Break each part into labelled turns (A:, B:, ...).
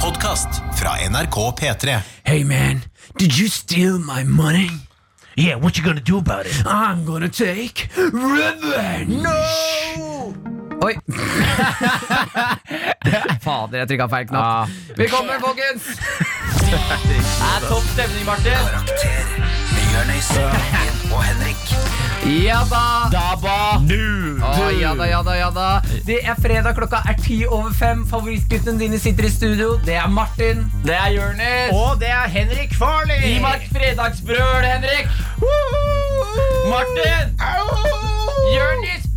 A: podkast fra NRK P3.
B: Hey man, did you steal my money?
C: Yeah, what you gonna do about it?
B: I'm gonna take revenge! Oi. Fader, jeg trykka feil knapp. Velkommen, folkens!
D: er topp stemning, Martin.
A: Karakter med Jørnis, Martin og Henrik.
B: Ja da!
D: Daba.
B: Å, ja da, ja da, ja da. Det er fredag, klokka er ti over fem. Favorittguttene dine sitter i studio. Det er Martin.
D: Det er Jonis.
C: Og det er Henrik Farley!
D: Gi meg et fredagsbrøl, Henrik. Martin. Jonis.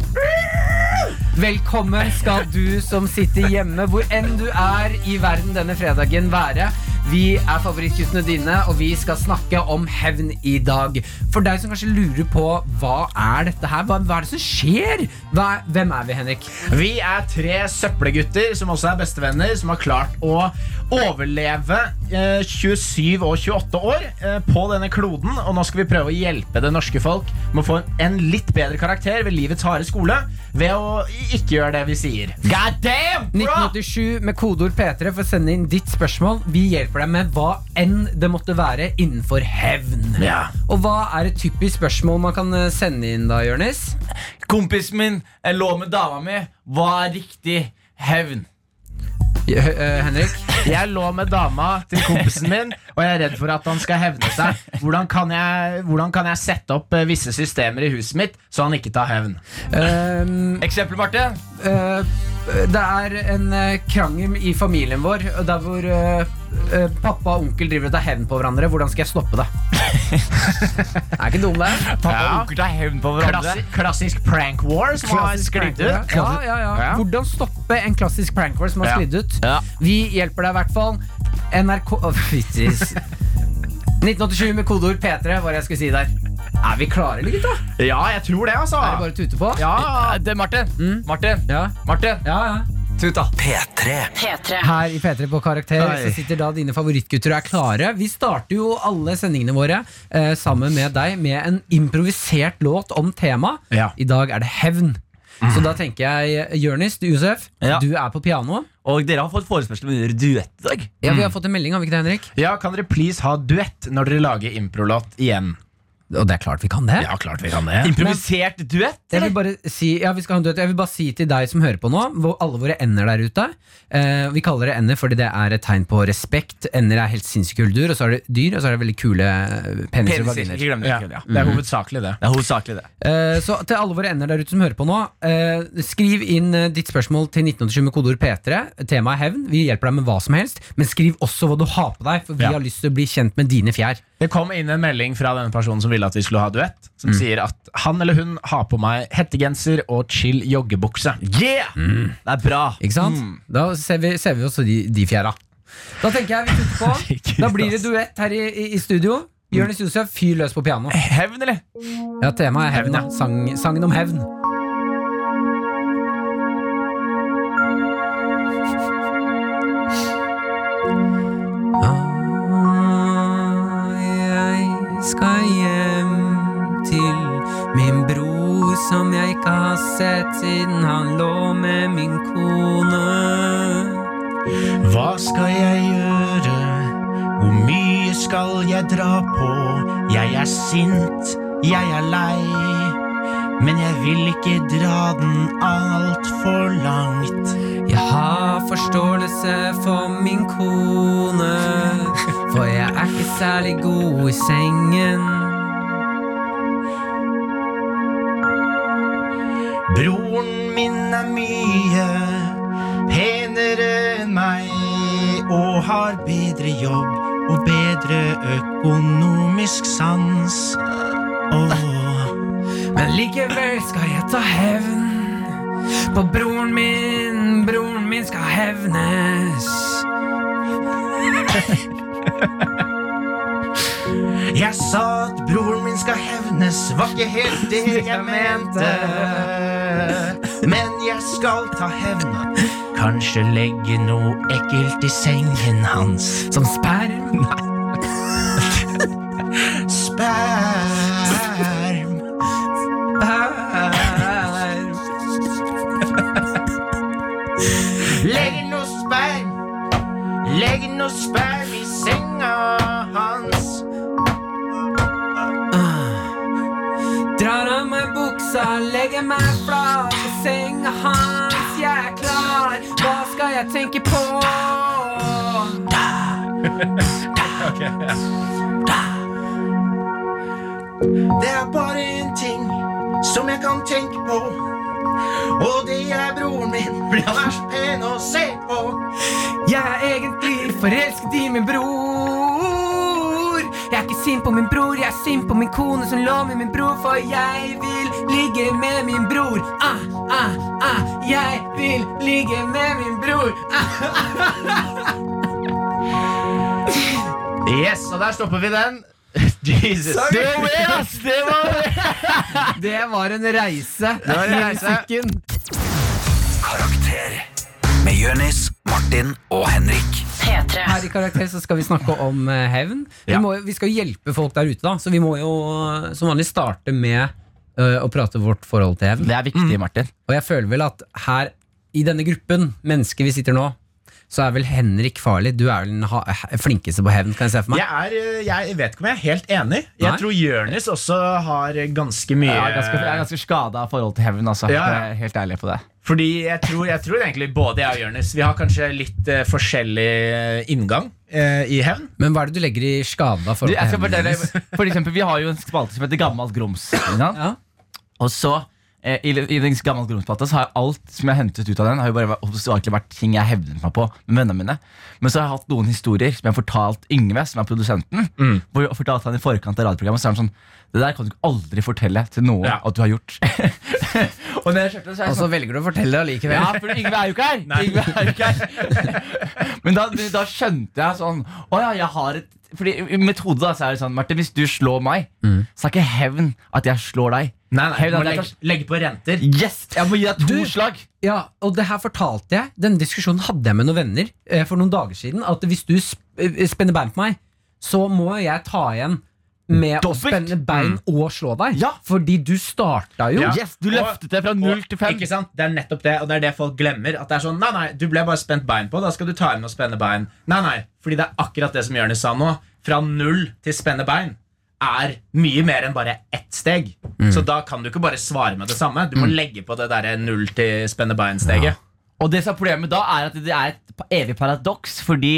B: Velkommen skal du som sitter hjemme, hvor enn du er i verden denne fredagen, være. Vi er favorittguttene dine, og vi skal snakke om hevn i dag. For deg som kanskje lurer på hva er dette her, hva, hva er det som skjer? Hva, hvem er vi, Henrik?
C: Vi er tre søppelgutter som også er bestevenner, som har klart å overleve eh, 27 og 28 år eh, på denne kloden. Og nå skal vi prøve å hjelpe det norske folk med å få en litt bedre karakter ved livets harde skole ved å ikke gjøre det vi sier. God damn, bro!
B: 1987 med kodeord P3 for å sende inn ditt spørsmål. Vi hjelper deg med hva enn det måtte være innenfor hevn.
C: Ja.
B: Og hva er et typisk spørsmål man kan eh, sende inn da, Jørnis?
D: Kompisen min jeg lå med dama mi. Hva er riktig hevn?
B: J- eh, Henrik?
C: Jeg lå med dama til kompisen min, og jeg er redd for at han skal hevne seg. Hvordan kan jeg, hvordan kan jeg sette opp eh, visse systemer i huset mitt, så han ikke tar hevn?
B: Ehm,
D: Eh, Eksempel, Martin.
B: Eh, det er en eh, krangel i familien vår der hvor eh, eh, pappa og onkel driver og tar hevn på hverandre. Hvordan skal jeg stoppe det? er ikke dum, det.
D: Pappa
C: Ja.
D: og onkel tar hevn på hverandre.
C: Klassi, klassisk prank war som har
B: Klassisk
C: sklidd
B: prank
C: ut.
B: war. Ja, ja, ja.
C: Ja.
B: Hvordan stoppe en klassisk prank war som har
C: Ja.
B: sklidd ut?
D: Ja.
B: Vi hjelper deg i hvert fall. NRK Å, fy, tis. 1987 med kodeord P3 var det jeg skulle si der. Er vi klare, eller, gutta?
C: Ja, jeg tror det, altså.
B: Er det bare å tute på?
C: Ja, Mm.
D: Eh, Det, Martin. Martin.
B: Ja.
D: Martin.
B: Ja, ja.
D: Tut, da.
A: P3.
E: P3.
B: Her i P3 på Karakter
C: Oi.
B: så sitter da dine favorittgutter og er klare. Vi starter jo alle sendingene våre eh, sammen med deg med en improvisert låt om tema.
C: Ja. Mm.
B: I dag er det hevn. Så da tenker jeg Jørnis, du, Josef,
D: Ja.
B: du er på piano.
D: Og dere har fått forespørsel om å gjøre duett i dag.
B: Ja,
C: Mm.
B: Vi har fått en melding, har vi ikke det, Henrik?
C: ja, kan dere please ha duett når dere lager improlåt igjen?
B: Og det er klart vi kan det.
C: Ja, klart vi kan det.
D: Improvisert duett?
B: Jeg vil
D: Eller?
B: bare si, ja, vi skal ha en duett. Jeg vil bare si til deg som hører på nå, hvor alle våre ender der ute eh, Vi kaller det ender fordi det er et tegn på respekt. Ender er helt sinnssyke kuldur, og så er det dyr, og så er det veldig kule eh, peniser. og
D: Peniser.
B: vaginer.
D: Ikke glem det.
C: Ja,
D: ikke glem det, ja.
C: det er hovedsakelig det.
D: Det er hovedsakelig det.
B: Eh, Så til alle våre ender der ute som hører på nå, eh, skriv inn eh, ditt spørsmål til 1987 med kodeord P3. Temaet er hevn. Vi hjelper deg med hva som helst, men skriv også hva du har på deg, for vi
C: Ja.
B: har lyst til å bli kjent med dine fjær.
C: Det kom inn en melding fra denne personen som ville at vi skulle ha duett, som sier at han eller hun har på meg hettegenser og chill joggebukse. Mm.
D: Yeah! Det er bra.
B: Ikke sant? Da ser vi, ser vi også de, de fjæra. Da tenker jeg vi tutter på. Da blir det duett her i, i, i studio. Jonis Josef, fyr løs på piano.
D: Hevn, eller?
B: Ja, temaet er hevn, ja. Sang, sangen om hevn. Ah, Jeg skal hjem til min bror som jeg ikke har sett siden han lå med min kone.
C: Hva skal jeg gjøre? Hvor mye skal jeg dra på? Jeg er sint, jeg er lei. Men jeg vil ikke dra den altfor langt.
B: Jeg har forståelse for min kone, for jeg er ikke særlig god i sengen.
C: Broren min er mye penere enn meg og har bedre jobb og bedre økonomisk sans. Åh.
B: Men likevel skal jeg ta hevn på broren min. Broren min skal hevnes.
C: Jeg sa at broren min skal hevnes, var ikke helt det jeg mente. Men jeg skal ta hevn. Kanskje legge noe ekkelt i sengen hans.
B: Som sperm.
C: Sperm.
B: sperm.
C: Legger noe sperm. Legg noe sperm i senga hans.
B: Drar av meg buksa, legger meg flat på senga hans. Jeg er klar, hva skal jeg tenke på?
C: Det er bare en ting som jeg kan tenke på. Og det er broren min, for han er så pen å se på.
B: Jeg er egentlig forelsket i min bror. Jeg er ikke sint på min bror, jeg er sint på min kone som lå med min bror, for jeg vil ligge med min bror. Ah, ah, ah. Jeg vil ligge med min bror. Ah.
C: Yes, og der stopper vi den. Jesus.
D: Det var mer, ass! Det var mer.
B: Ah, Det var en reise
C: var en
B: i
C: reise.
B: musikken.
A: Karakter med Jørnis, Martin og Henrik.
E: P3.
B: Her i Karakter så skal vi snakke om eh, hevn. Vi,
C: Ja.
B: må, vi skal jo hjelpe folk der ute, da. Så vi må jo eh, som vanlig starte med eh, å prate vårt forhold til hevn.
D: Det er viktig, Martin.
B: Og jeg føler vel at her i denne gruppen mennesker vi sitter nå, så er vel Henrik farlig. Du er vel den ha eh, he- flinkeste på hevn, kan jeg se for meg.
C: Jeg, er, eh, jeg vet ikke om jeg er helt enig. Jeg
B: Nei?
C: tror Jørnis også har ganske mye
D: Jeg er ganske, jeg er ganske skada av forhold til hevn. Altså.
C: Ja, ja.
D: Jeg er helt ærlig på det.
C: Fordi jeg tror, jeg tror egentlig både jeg og Jørnis Vi har kanskje litt eh, forskjellig inngang eh, i hevn.
B: Men hva er det du legger i skada
D: Du,
B: forhold
D: jeg
B: til
D: skal
B: hevn?
D: fortelle,
B: Jonas?
D: for eksempel, vi har jo en spalte som heter Gammalt grums. ikke sant?
B: Ja.
D: Og så eh, i, I den gamle grumsplata Så har jeg alt som jeg har hentet ut av den, Har jo bare vært, hovedsakelig vært ting jeg hevnet meg på med vennene mine. Men så har jeg hatt noen historier som jeg har fortalt Yngve, som er produsenten.
B: Mm.
D: Hvor jeg fortalte han i forkant av radioprogrammet Så er han sånn Det der kan du aldri fortelle til noen
C: Ja.
D: at du har gjort. og når jeg skjønte det, så
B: Og
D: er jeg
B: så
D: sånn
B: velger du å fortelle det allikevel.
D: ja, for Yngve er jo ikke her! Yngve er jo ikke her Men da, da skjønte jeg sånn Å ja, jeg har et Fordi i mitt hode da, så er det sånn Martin, hvis du slår meg, så er ikke hevn at jeg slår deg.
C: Nei, nei,
D: Hevn
C: må
D: at jeg
C: legge, legge på renter.
D: Yes, jeg må gi deg to
B: Du-
D: slag
B: Ja, og det her fortalte jeg Den diskusjonen hadde jeg med noen venner eh, For noen dager siden At hvis du sp eh, spenner bein på meg Så må jeg ta igjen Med å
D: Dobbelt.
B: spenne bein og slå deg
D: Ja.
B: Fordi du starta jo
C: Ja.
D: Yes, du løftet det fra null til fem
C: Ikke sant? Det er nettopp det, og det er det folk glemmer. At det er sånn, nei, nei, Du ble bare spent bein på, da skal du ta igjen og spenne bein. Nei, nei, fordi det er akkurat det som Jonis sa nå. Fra null til spenne bein er mye mer enn bare ett steg.
D: Mm.
C: Så da kan du ikke bare svare med det samme. Du må legge på det derre null til spenne bein-steget.
D: Og det som er problemet da er at det er et pa- evig paradoks Fordi,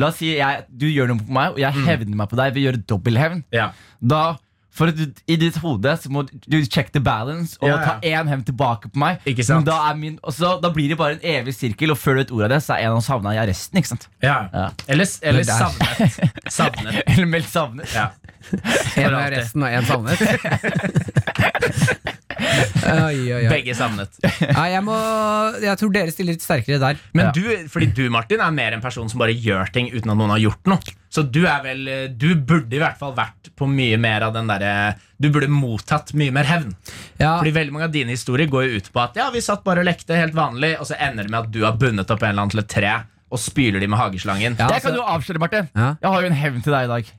D: la oss si, jeg, du gjør noe på meg Og jeg hevner meg på deg ved å gjøre dobbelthevn
C: Ja.
D: Da, for at du, i ditt hode Så må du- du check the balance Og
C: Ja, ja.
D: ta en hevn tilbake på meg
C: Ikke sant?
D: Men da, er min, og så, da blir det bare en evig sirkel Og før du vet ordet av det, så er en av oss havna i arresten Ikke sant?
C: ja.
D: Ja.
C: Eller,
D: Men
C: eller
D: der-
C: savnet. Savnet.
D: Eller meldt savnet
C: Ja.
B: En av
C: alltid.
B: resten og en savnet Oi, oi, oi
C: Begge savnet.
B: Nei, jeg, må, jeg tror dere stiller litt sterkere der
C: Men
D: Ja.
C: du, fordi du Martin er mer en person som bare gjør ting uten at noen har gjort noe. Så du er vel Du burde i hvert fall vært på mye mer av den derre Du burde mottatt mye mer hevn.
B: ja,
C: Fordi veldig mange av dine historier går jo ut på at ja, vi satt bare og lekte helt vanlig, og så ender det med at du har bundet opp en eller annen til et tre og spyler de med hageslangen.
B: Ja.
D: Jeg kan jo avsløre, Martin
B: Ja.
D: Jeg har jo en hevn til deg i dag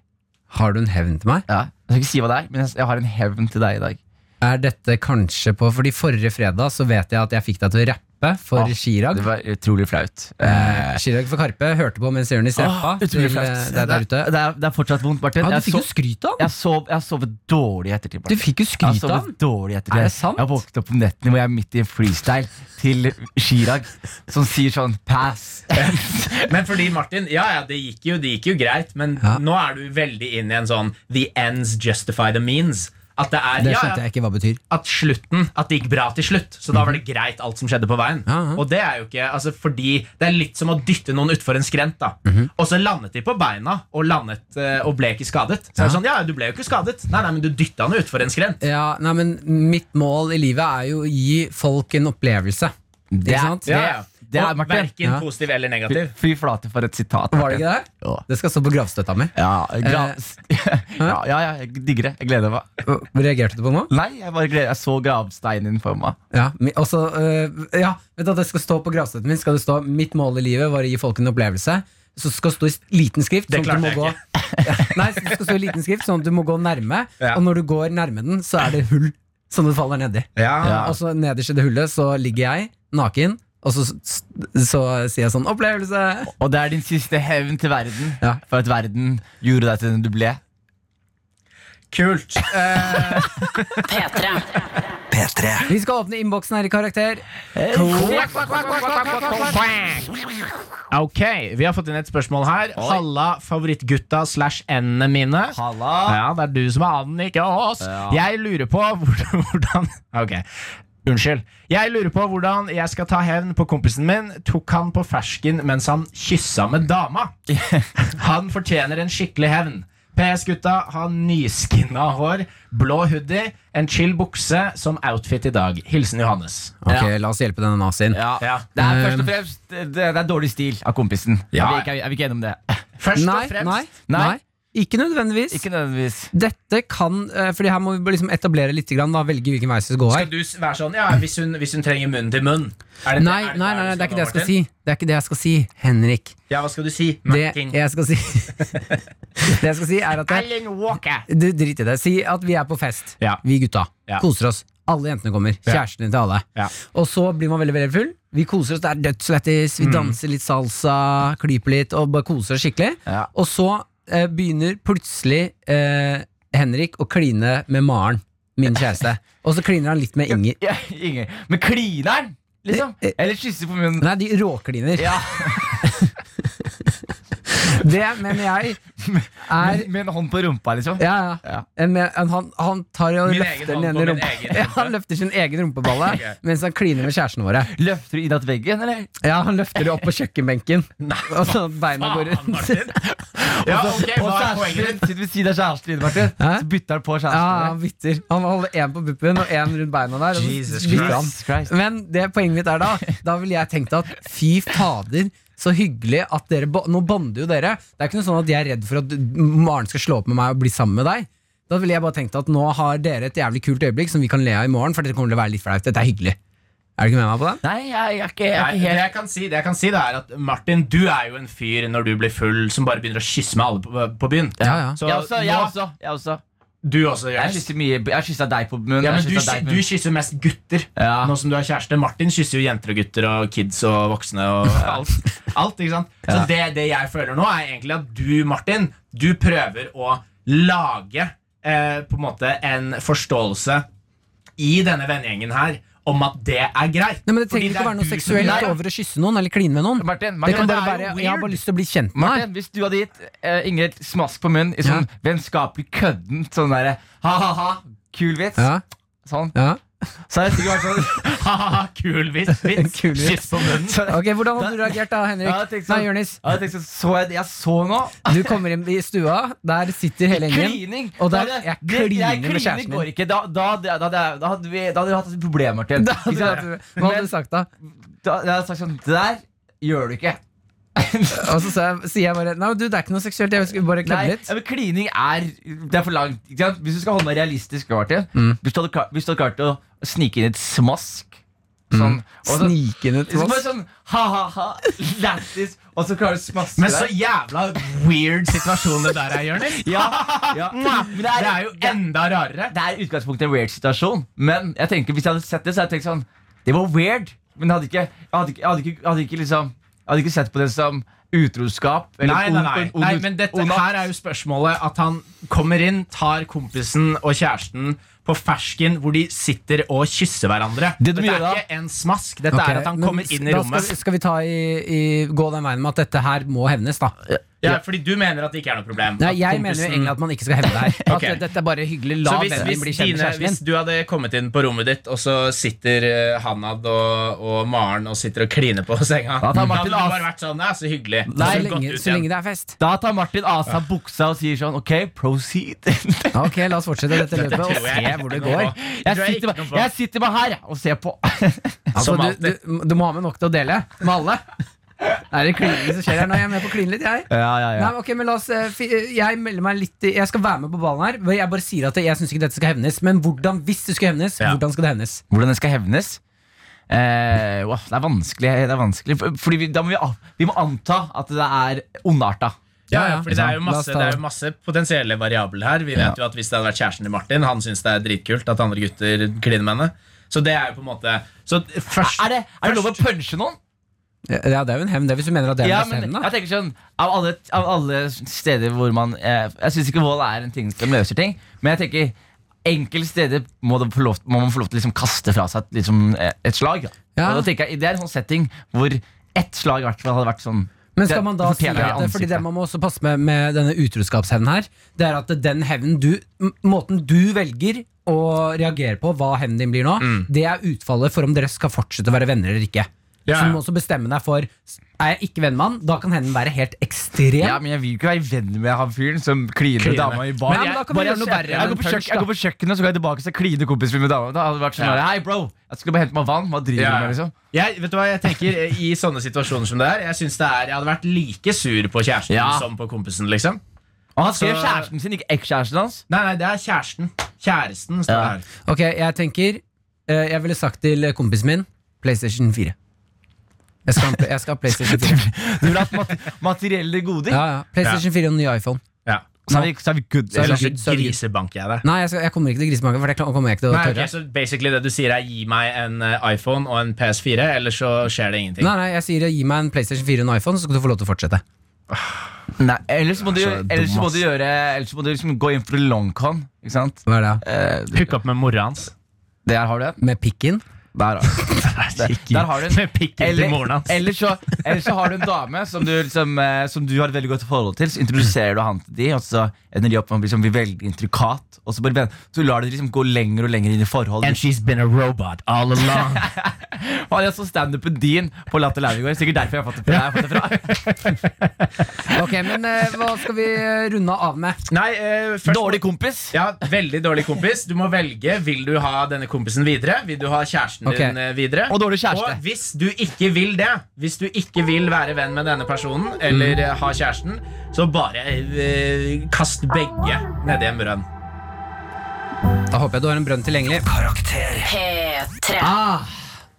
B: Har du en hevn til meg?
D: ja. Jeg skal ikke si hva det er, men jeg- jeg har en hevn til deg i dag
B: Er dette kanskje på Fordi forrige fredag så vet jeg at jeg fikk deg til å rappe For
D: Ah,
B: Chirag
D: Det var utrolig flaut.
B: Eh, Chirag for Karpe hørte på mens Jørnis rappa til,
D: Ah,
B: eh,
D: utrolig flaut.
B: deg der ute.
D: Det, er, det er fortsatt vondt, Martin.
B: Ja,
D: jeg,
B: du fikk jo
D: sov,
B: skryt av
D: jeg,
B: han.
D: sov, jeg har sovet dårlig i ettertid.
B: Du
D: Martin.
B: fikk jo
D: Jeg har
B: skryt av han.
D: sovet Altså, dårlig i ettertid.
B: Er det sant?
D: Jeg har våknet opp om netten hvor jeg er midt i en freestyle til Chirag, som sier sånn 'pass'.
C: Men fordi Martin, ja ja, det gikk jo, det gikk jo greit, men
B: Ja.
C: nå er du veldig inn i en sånn the ends justify the means. At det er
B: Det
C: ja, ja,
B: skjønte jeg ikke hva betyr.
C: at slutten, at det gikk bra til slutt. Så da var det greit, alt som skjedde på veien.
B: Ja, ja.
C: Og det er jo ikke, altså fordi det er litt som å dytte noen utfor en skrent. da Og så landet de på beina og landet eh, og ble ikke skadet. Så er det sånn, ja, du ble jo ikke skadet. Nei, nei, men du dytta han jo utfor en skrent.
B: Ja, nei, men Mitt mål i livet er jo å gi folk en opplevelse.
D: Det
B: Ikke
D: er-
B: sant?
D: det er- det er
C: og
D: Martin.
C: verken
B: Ja.
C: positiv eller
D: Fy,
C: negativ.
D: fy flate for et sitat.
B: Var det Eh, ikke det?
D: Ja.
B: Det skal stå på gravstøtta mi.
D: Ja, gra ja, ja, ja, jeg digger det. Jeg gleder meg.
B: Reagerte du på noe?
D: Nei, jeg bare gleder Jeg så gravsteinen for meg.
B: Ja, mi- og så, øh, ja, vet du at det skal stå på gravstøtten min Skal det stå 'Mitt mål i livet var å gi folk en opplevelse'. Så skal det stå i liten skrift.
C: Det
B: sånn at du må
C: klarte jeg
B: gå, Nei, så det skal stå i liten skrift Sånn at du må gå nærme,
C: Ja.
B: og når du går nærme den, så er det hull som du faller nedi. altså,
C: Ja.
D: Ja.
B: Og så nederst i det hullet så ligger jeg naken Og så, så, så sier jeg sånn 'opplevelse'.
D: Og det er din siste hevn til verden
B: Ja.
D: for at verden gjorde deg til den du ble.
C: Kult. Eh,
E: P3.
A: P3
B: Vi skal åpne innboksen her i Karakter.
C: Ok, vi har fått inn et spørsmål her. Halla, favorittgutta slash endene mine.
D: Halla!
B: Ah.
C: Ja, det er du som er anden, ikke oss. Jeg lurer på hvor- hvordan Ok, unnskyld. Jeg lurer på hvordan jeg skal ta hevn på kompisen min. Tok han på fersken mens han kyssa med dama. Han fortjener en skikkelig hevn. PS gutta har nyskinna hår, blå hoodie, en chill bukse som outfit i dag. Hilsen Johannes.
B: Ok, La oss hjelpe denne nazien.
D: Ja.
C: Ja.
D: Det er først og
B: Eh.
D: fremst det, det er dårlig stil av kompisen.
C: Ja.
D: Jeg, vil ikke, jeg vil ikke gjennom det.
C: Først
B: Nei,
C: og fremst
B: nei, nei.
D: Nei.
B: Ikke nødvendigvis.
D: Ikke nødvendigvis.
B: Dette kan eh, Fordi her må vi liksom etablere litt, grann, da, velge hvilken vei vi skal gå her.
C: Skal du s- være sånn, ja, hvis hun, hvis hun trenger munn til munn? Er det-
B: Nei, nei,
C: er det-
B: nei, nei,
C: er
B: det er
C: sånn
B: ikke det jeg skal si.
C: Martin?
B: Det er ikke det jeg skal si, Henrik.
C: Ja, hva skal du si?
B: Det
C: Martin?
B: jeg skal si, det jeg skal si er at jeg,
C: Alan Walker.
B: Du, drit i det. Si at vi er på fest,
C: Ja.
B: vi gutta.
C: Ja.
B: Koser oss. Alle jentene kommer. Kjæresten din til alle.
C: Ja.
B: Og så blir man veldig veldig full. Vi koser oss, det er dødslættis,
C: Mm.
B: vi danser litt salsa, klyper litt og bare koser oss skikkelig.
D: Ja.
B: Og så eh, begynner plutselig eh, Henrik å kline med Maren, min kjæreste. Og så kliner han litt med Inger.
D: Ja, ingen. Men klineren, liksom?
B: Eh, eh.
D: Eller kysser på munnen?
B: Nei, de råkliner.
D: Ja,
B: Det mener jeg er
D: med en hånd på rumpa, liksom?
B: Ja, ja. En- en- Han, han tar og
C: Min
B: løfter
C: egen
B: den
C: hånd
B: ene
C: på min
B: rumpa.
C: egen
B: Ja,
C: rumpe.
B: han løfter sin egen rumpeballe mens han kliner med kjærestene våre.
D: Løfter du innat veggen, eller?
B: Ja, Han løfter det opp på kjøkkenbenken, og så beina går
C: Faen,
B: rundt.
C: Martin. Ja, ok, hva er
D: og kjæresten
C: poenget
D: din
C: ditt?
D: sitter ved siden av kjæresten din, Martin.
B: Hæ?
D: Så bytter han på
B: Ja,
D: kjæresten
B: han bytter. Han holder én på puppen og én rundt beina der. Og
C: Jesus
B: så bytter han.
D: Jesus Christ.
B: Men det poenget mitt er da Da ville jeg tenkt at fy fader, så hyggelig at dere bo- Nå bonder jo dere. Det er ikke noe sånn at jeg er redd for at Maren skal slå opp med meg og bli sammen med deg. Da ville jeg bare tenkt at nå har dere et jævlig kult øyeblikk som vi kan le av i morgen, for dette kommer til å være litt flaut. Dette er hyggelig. Er du ikke med meg på det?
D: Nei, jeg, jeg er ikke, jeg er
C: Nei,
D: ikke
C: det,
D: helt
C: jeg kan si, det jeg kan si, det er at Martin, du er jo en fyr når du blir full som bare begynner å kysse med alle på, på byen.
B: Ja, ja.
C: Så
D: Jeg også. Jeg
C: nå-
D: også, jeg også.
C: Du også,
D: Jeg
C: Jonas.
D: kysser mye Jeg har kysset deg på munnen.
C: Ja, men du,
D: jeg har kysset deg
C: ky- du
D: på munnen.
C: kysser mest gutter
D: Ja.
C: nå som du er kjæreste. Martin kysser jo jenter og gutter og kids og voksne og alt. alt ikke sant? Så det, det jeg føler nå, er egentlig at du, Martin, du prøver å lage eh, på en måte en forståelse i denne vennegjengen her om at det er greit.
B: Nei, men Det
C: Fordi
B: trenger ikke
C: er
B: være noe
C: du som
B: seksuelt
C: gjør det.
B: over å kysse noen eller kline med noen.
D: Martin,
B: Det
D: Martin,
B: kan
C: det
B: bare
C: er jo
B: være Jeg har
C: weird.
B: bare lyst til å bli kjent med deg.
D: Martin, hvis du hadde gitt eh, Ingrid et smask på munnen i sånn vennskapelig kødden sånn derre ha-ha-ha, kul vits,
B: Ja,
D: sånn,
B: ja.
D: så hadde jeg sikkert vært sånn
C: Haha, Kul vits, vits.
B: Kul vits.
C: Kyss på munnen.
B: Ok, Hvordan hadde du reagert da, Henrik?
D: Ja, jeg tenkte
B: Nei,
D: sånn-
B: Jonis.
D: Ja, jeg, tenkte, sånn, så jeg, jeg så nå
B: Du kommer inn i stua, der sitter hele gjengen.
D: Klining!
B: Og der-
D: Da hadde-
B: jeg
D: det-
B: kliner
D: jeg
B: med
D: kliner
B: kjæresten min.
D: går ikke. Da, da, da, da, da, da, hadde vi, da hadde vi hatt et problem, Martin.
B: Da
D: Ikke sant?
B: hadde du- Hva hadde du sagt da?
D: Da, jeg hadde sagt sånn Det der gjør du ikke.
B: Og så sa jeg- sier jeg bare Nei, du, det er ikke noe seksuelt, jeg skulle bare
D: Nei,
B: kødde litt.
D: ja, men klining er Det er for langt. Ikke sant? Hvis du skal holde meg realistisk, Martin
B: Mm.
D: hvis, du hadde, klart- hvis du hadde klart å snike inn et smask
B: Mm.
D: sånn, og så-
B: Snikende
D: så bare
B: tross.
D: sånn ha-ha-ha, lættis, og så klarer du å smaske
C: Men så
D: deg.
C: jævla weird situasjon det der er, Jonis.
D: Ja, ja. Men
C: Det er jo
D: det er-
C: enda rarere.
D: Det er i utgangspunktet en weird situasjon, men jeg tenker, hvis jeg hadde sett det, så hadde jeg tenkt sånn Det var weird, men jeg hadde ikke, jeg hadde ikke, jeg hadde ikke, jeg hadde ikke, liksom, jeg hadde ikke sett på det som utroskap. Eller
C: Nei, nei,
D: ond-
C: nei.
D: ond-
C: nei men dette
D: ond-
C: her er jo spørsmålet at han kommer inn, tar kompisen og kjæresten på fersken hvor de sitter og kysser hverandre.
D: Det du
C: dette
D: gjør da-
C: er ikke en smask. Dette
B: Ok,
C: er at han
B: men
C: kommer inn i
B: da
C: rommet.
B: Skal, skal vi ta i, i, gå den veien med at dette her må hevnes, da?
C: Ja, fordi du mener at det ikke er noe problem.
B: Nei,
C: at
B: jeg
C: kompisen-
B: mener jo egentlig at man ikke skal hevne det her.
C: Ok.
B: At dette er bare hyggelig.
C: så
B: La
C: hvis,
B: vennen din bli
C: hvis,
B: kjent med
C: dine, hvis
B: kjæresten din.
C: du hadde kommet inn på rommet ditt, og så sitter eh, Hanad og, og Maren og sitter og kliner på senga
D: Ja,
C: Da
D: ta
C: hadde
D: Martin
C: du bare
D: As-
C: vært sånn Ja, så hyggelig. Og
B: Så
C: så gått
B: lenge,
C: ut
B: så
C: igjen.
B: lenge det er fest.
D: Da tar Martin av seg buksa og sier sånn OK, proceed. Jeg
B: Ok, la oss fortsette dette løpet og
C: tror jeg
B: se
C: ikke
B: hvor det
C: noe
B: går.
C: på. Det tror jeg
D: sitter,
C: ikke
D: bare,
C: noe på.
D: jeg sitter bare her jeg, og ser på.
B: Altså,
C: Som
B: du,
C: alltid.
B: du, du må ha med nok til å dele med alle. Det er det klining som skjer her nå. Jeg er med på å kline litt, jeg.
D: Ja, ja,
B: Nei, men ok, men la oss eh, fi- eh, Jeg melder meg litt i- Jeg skal være med på ballen her. men Jeg bare sier at jeg syns ikke dette skal hevnes. Men hvordan, hvis det skulle hevnes,
C: Ja.
B: hvordan skal det hevnes?
D: Hvordan den skal hevnes? Eh, wow, det er vanskelig. Det er vanskelig for- Fordi vi, da må vi, a- vi må anta at det er ondarta.
C: Ja,
B: Ja,
C: ja,
B: ja.
C: fordi det er, jo
B: Ja, la oss
C: masse,
B: ta-
C: det er jo masse potensielle variabler her. Vi vet jo at Hvis det hadde vært kjæresten til Martin, han syns det er dritkult at andre gutter kliner med henne. Så det er jo på en måte så først,
D: Er det, er det lov å punche noen?
B: Ja, det er jo en hevn, det, hvis du mener at det er
D: Ja,
B: mest
D: men
B: hevn,
D: jeg
B: da.
D: tenker sånn Av alle, av alle steder hvor man eh, Jeg syns ikke vold er en ting som løser ting, men jeg tenker enkelte steder må, det få lov, må man få lov til å liksom kaste fra seg et- liksom, eh, et slag. Da.
B: Ja.
D: Og da tenker jeg, Det er en sånn setting hvor ett slag i hvert fall hadde vært sånn
B: Men skal man da si
D: fortjener
B: at det, fordi det man må også passe med med denne utroskapshevnen her, det er at den hevnen du m- Måten du velger å reagere på, hva hevnen din blir nå, det er utfallet for om dere skal fortsette å være venner eller ikke.
C: Ja,
B: Så
C: ja.
B: du må også bestemme deg for Er jeg ikke venn med han, da kan hevnen være helt ekstrem.
D: Ja, men Jeg vil jo ikke være venn med han fyren som kliner
C: Kliner.
D: dama i bar.
B: Men
D: jeg,
B: da kan vi gjøre noe
D: jeg-
B: verre
D: jeg,
B: enn
D: går på
B: punch,
D: kjøkken- jeg går på kjøkkenet så går jeg tilbake så kliner kompisen min med dama. Da hadde det vært sånn
C: Ja.
D: Hei, bro! Jeg skal bare hente meg vann. Hva driver
C: Ja.
D: du med? liksom?
C: Jeg, vet du hva jeg tenker eh, i sånne situasjoner som det er? Jeg synes det er, jeg hadde vært like sur på kjæresten
D: Ja.
C: som på kompisen. liksom
D: Og han skrev
C: Så-
D: kjæresten sin, ikke ekskjæresten hans.
C: Nei, nei, det er kjæresten. Kjæresten står
D: Ja.
C: her.
B: Ok, jeg tenker eh, Jeg ville sagt til kompisen min PlayStation 4. Jeg skal, ha en pla- jeg skal ha PlayStation 4.
D: Du vil ha mat materielle goder.
B: Ja, ja. PlayStation 4 og ny iPhone.
C: Ja.
D: Så er vi, så er vi good.
B: er vi
C: Eller
B: good, så
C: så
B: er vi good.
C: grisebanker jeg deg.
B: Nei, jeg, skal, jeg kommer ikke til grisemangen, for det kla- kommer jeg ikke til å
C: Nei, ok,
B: tørre.
C: så basically det du sier er gi meg en eh, iPhone og en PS4, eller så skjer det ingenting.
B: Nei, nei, jeg sier gi meg en PlayStation 4 og en iPhone, så skal du få lov til å fortsette.
D: Nei, ellers må du,
C: Så dum,
D: ellers må
C: ass.
D: du gjøre Ellers må du liksom gå inn for en long con. Ikke sant?
B: Hva er det? da?
D: Eh,
C: Hook opp med mora hans.
D: der har du en.
B: Med pikken?
D: Der, har- der har du en.
C: Med pikken til moren hans.
D: eller, så, eller så har du en dame som du, liksom, eh, som du har et veldig godt forhold til. Så introduserer du han til de, og så ender de opp med å bli liksom, bli veldig intrikat. Og så, bare, ven- så lar du det liksom gå lenger og lenger inn i forholdet.
C: she's been a robot all along.
D: Han er så standupen din på Latter Lauv i går. Sikkert derfor jeg har fått det fra. Jeg har fått det fra.
B: Ok, men eh, hva skal vi eh, runde av med?
C: Nei, eh, først
D: Dårlig kompis.
C: Ja, Veldig dårlig kompis. Du må velge. Vil du ha denne kompisen videre? Vil du ha kjæresten
B: Ok.
C: din eh, videre?
D: Og dårlig kjæreste.
C: Og hvis du ikke vil det, hvis du ikke vil være venn med denne personen, eller eh, ha kjæresten, så bare eh, kast begge nedi en brønn.
B: Da håper jeg du har en brønn tilgjengelig.
A: Karakter.
E: P3.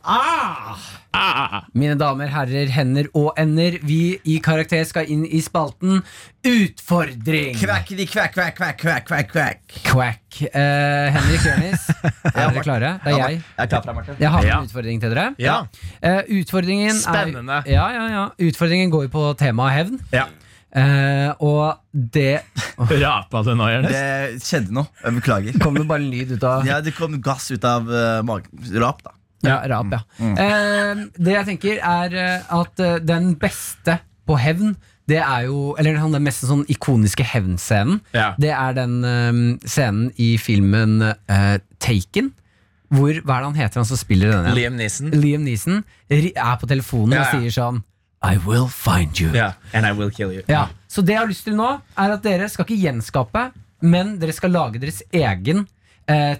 B: Ah, Mine damer, herrer, hender og ender, vi i Karakter skal inn i spalten Utfordring.
F: Kvakkidi kvakk, kvakk, kvakk, kvakk, kvakk, kvakk.
B: Quack. Eh, Henrik Jørnis, er dere klare? Det er jeg.
D: Jeg er klar for deg, Martin.
B: Jeg har med
C: Ja.
B: en utfordring til dere.
C: Ja.
B: Eh, utfordringen
C: Spennende.
B: Er, ja, ja, ja. Utfordringen går jo på temaet hevn.
C: ja.
B: Eh, og det
C: Rapa du nå, Jonis?
F: Det skjedde noe. Jeg beklager.
B: Kom det bare en lyd ut av
F: Ja, det kom gass ut av uh, magen. Rap, da.
B: Ja, rap, ja. Eh, det jeg tenker, er eh, at eh, den beste på hevn det er jo, eller han den mest sånn ikoniske hevnscenen.
C: Ja.
B: Det er den eh, scenen i filmen eh, Taken. Hvor, hva er det han heter, han som spiller den? igjen?
C: Liam Neeson.
B: Liam Neeson ri- er på telefonen
C: Ja, ja.
B: og sier sånn I will find you.
C: Ja. And I will kill you.
B: Ja, Så det jeg har lyst til nå, er at dere skal ikke gjenskape, men dere skal lage deres egen eh,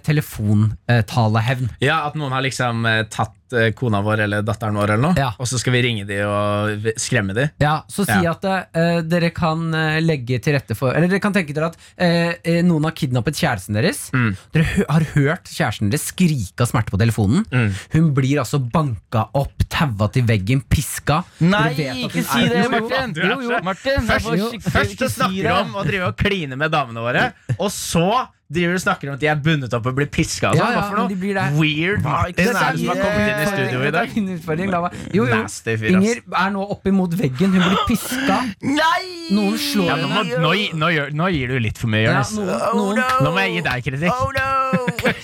B: telefontalehevn.
C: Ja, At noen har liksom eh, tatt eh, kona vår eller datteren vår, eller noe
B: Ja.
C: og så skal vi ringe de og v- skremme de
B: Ja, så si
C: Ja.
B: at eh, dere kan eh, legge til rette for Eller dere kan tenke dere at eh, eh, noen har kidnappet kjæresten deres.
C: Mm.
B: Dere hø har hørt kjæresten deres skrike av smerte på telefonen.
C: Mm.
B: Hun blir altså banka opp, taua til veggen, piska. Dere vet
D: Nei,
B: at
D: ikke
B: hun
D: si
B: er-
D: det,
B: Jo, jo.
D: Martin!
C: Du er
D: Jo, jo,
C: så-
D: Martin
C: Først,
D: jeg får skikkelig-
C: først
D: ikke
C: så
D: si
C: snakker
D: det.
C: du om å drive og kline med damene våre, og så driver du og snakker om at de er bundet opp og blir piska. og
B: Ja,
C: sånn.
B: ja,
C: Hva for
B: men
C: noe
B: de blir det.
C: Weird Martin
B: Dette
C: er det som har
B: min
C: kommet inn i
B: utfordring.
C: studio i
B: Dette
C: dag.
B: er min utfordring, la meg- Jo, jo.
C: Nasty fyr, ass.
B: Inger er nå oppimot veggen. Hun blir piska.
D: Nei!
B: Noen slår
C: Ja, nå,
B: henne.
C: må, nå, gi- nå, gjør, nå gir du litt for mye,
B: Ja,
C: Jonis.
B: noen, noen
C: Nå må jeg gi deg kritikk.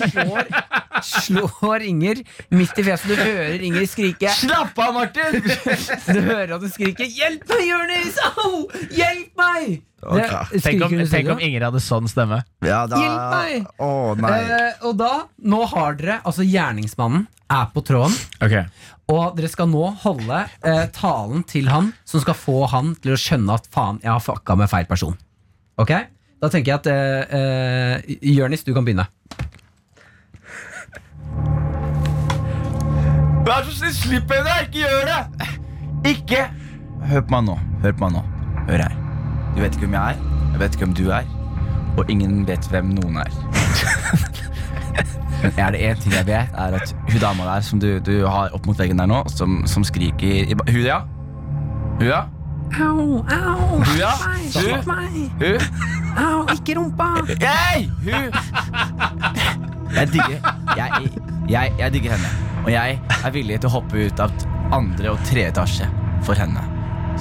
B: slår, slår Inger midt i fjeset. Du hører Inger skrike.
D: Slapp av, Martin!
B: Du hører at hun skriker 'Hjelp meg, Jonis! Au! Hjelp meg!' Det
C: Tenk
B: skriker
C: om,
B: hun i
C: tenk
B: studio.
C: om Inger hadde sånn stemme.
F: Ja, da
B: Hjelp meg!
F: Å, nei.
B: Eh, og da, nå har dere Altså, gjerningsmannen er på tråden, og dere skal nå holde eh, talen til han som skal få han til å skjønne at faen, jeg har fucka med feil person. Ok? Da tenker jeg at eh, eh, Jonis, du kan begynne.
D: Vær så snill, slipp henne! Ikke gjør det! Ikke Hør på meg nå. Hør på meg nå. Hør her. Du vet ikke hvem jeg er. Jeg vet ikke hvem du er. Og ingen vet hvem noen er. Men er det én ting jeg vet, er at hun dama der som du, du har opp mot veggen der nå, som, som skriker i ba- Hun, ja? Hun, ja?
B: Au, au,
D: Hun, ja? Hun?
B: meg!
D: Hun?
B: Au, ikke rumpa!
D: Hei! Hun Jeg digger, jeg, jeg, jeg digger henne. Og jeg er villig til å hoppe ut av andre og tredje etasje for henne.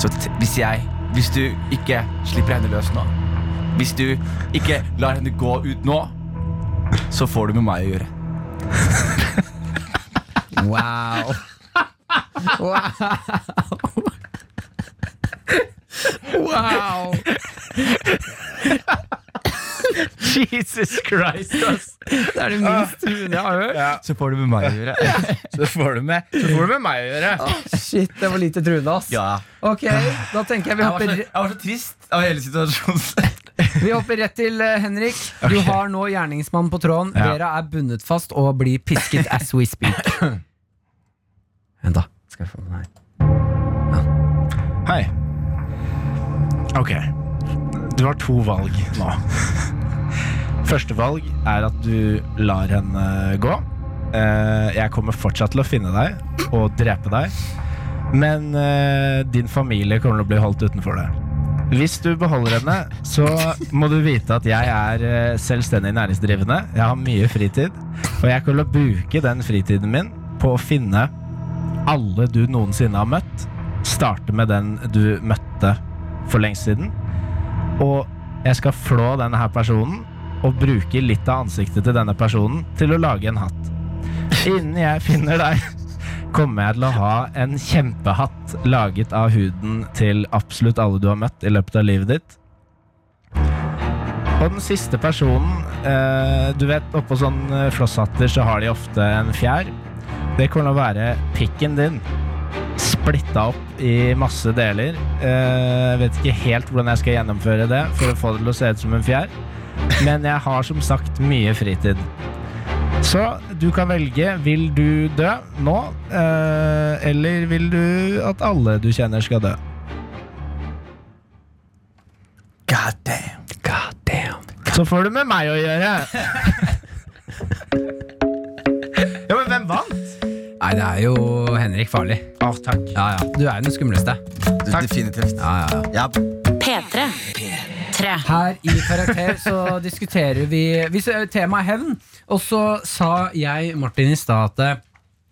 D: Så t hvis jeg Hvis du ikke slipper henne løs nå, hvis du ikke lar henne gå ut nå, så får du med meg å gjøre.
B: Wow. Wow. Wow.
C: Jesus Christ, ass.
B: Det er det minst truende jeg har hørt.
D: Så får du med meg å gjøre.
C: Så får du med, så får du med meg å gjøre.
B: Shit, det var lite truende, ass.
D: Ja.
B: Ok, da tenker jeg vi
D: Jeg var, så,
B: hopper,
D: jeg var så trist av hele situasjonen.
B: vi hopper rett til eh, Henrik. Du har nå gjerningsmannen på tråden.
D: Ja.
B: Dere er bundet fast og blir pisket as we speak. Vent, da. Skal jeg få den her.
C: Hei. Ok. Du har to valg nå. Første valg er at du lar henne gå. Eh, Jeg kommer fortsatt til å finne deg og drepe deg. Men eh, din familie kommer til å bli holdt utenfor det. Hvis du beholder henne, så må du vite at jeg er eh, selvstendig næringsdrivende. Jeg har mye fritid. Og jeg kommer til å bruke den fritiden min på å finne alle du noensinne har møtt starte med den du møtte for lengst siden. Og jeg skal flå denne her personen og bruke litt av ansiktet til denne personen til å lage en hatt. Innen jeg finner deg, kommer jeg til å ha en kjempehatt laget av huden til absolutt alle du har møtt i løpet av livet ditt. Og den siste personen eh, Du vet, oppå sånne flosshatter så har de ofte en fjær. Det kommer til å være pikken din splitta opp i masse deler. Eh, Jeg vet ikke helt hvordan jeg skal gjennomføre det for å få det til å se ut som en fjær. Men jeg har som sagt mye fritid. Så du kan velge. Vil du dø nå, eh, eller vil du at alle du kjenner, skal dø?
F: God damn.
B: God damn.
C: Så får du med meg å gjøre. Ja, men hvem vant?
B: Nei, det er jo Henrik Farlig.
C: Å, takk.
B: Ja, ja. Du er jo den skumleste.
F: Definitivt.
B: Ja, ja, ja.
F: Ja,
E: P3. Tre.
B: Her i Karakter så diskuterer vi hvis eh, Temaet er hevn. Og så sa jeg Martin i stad at eh,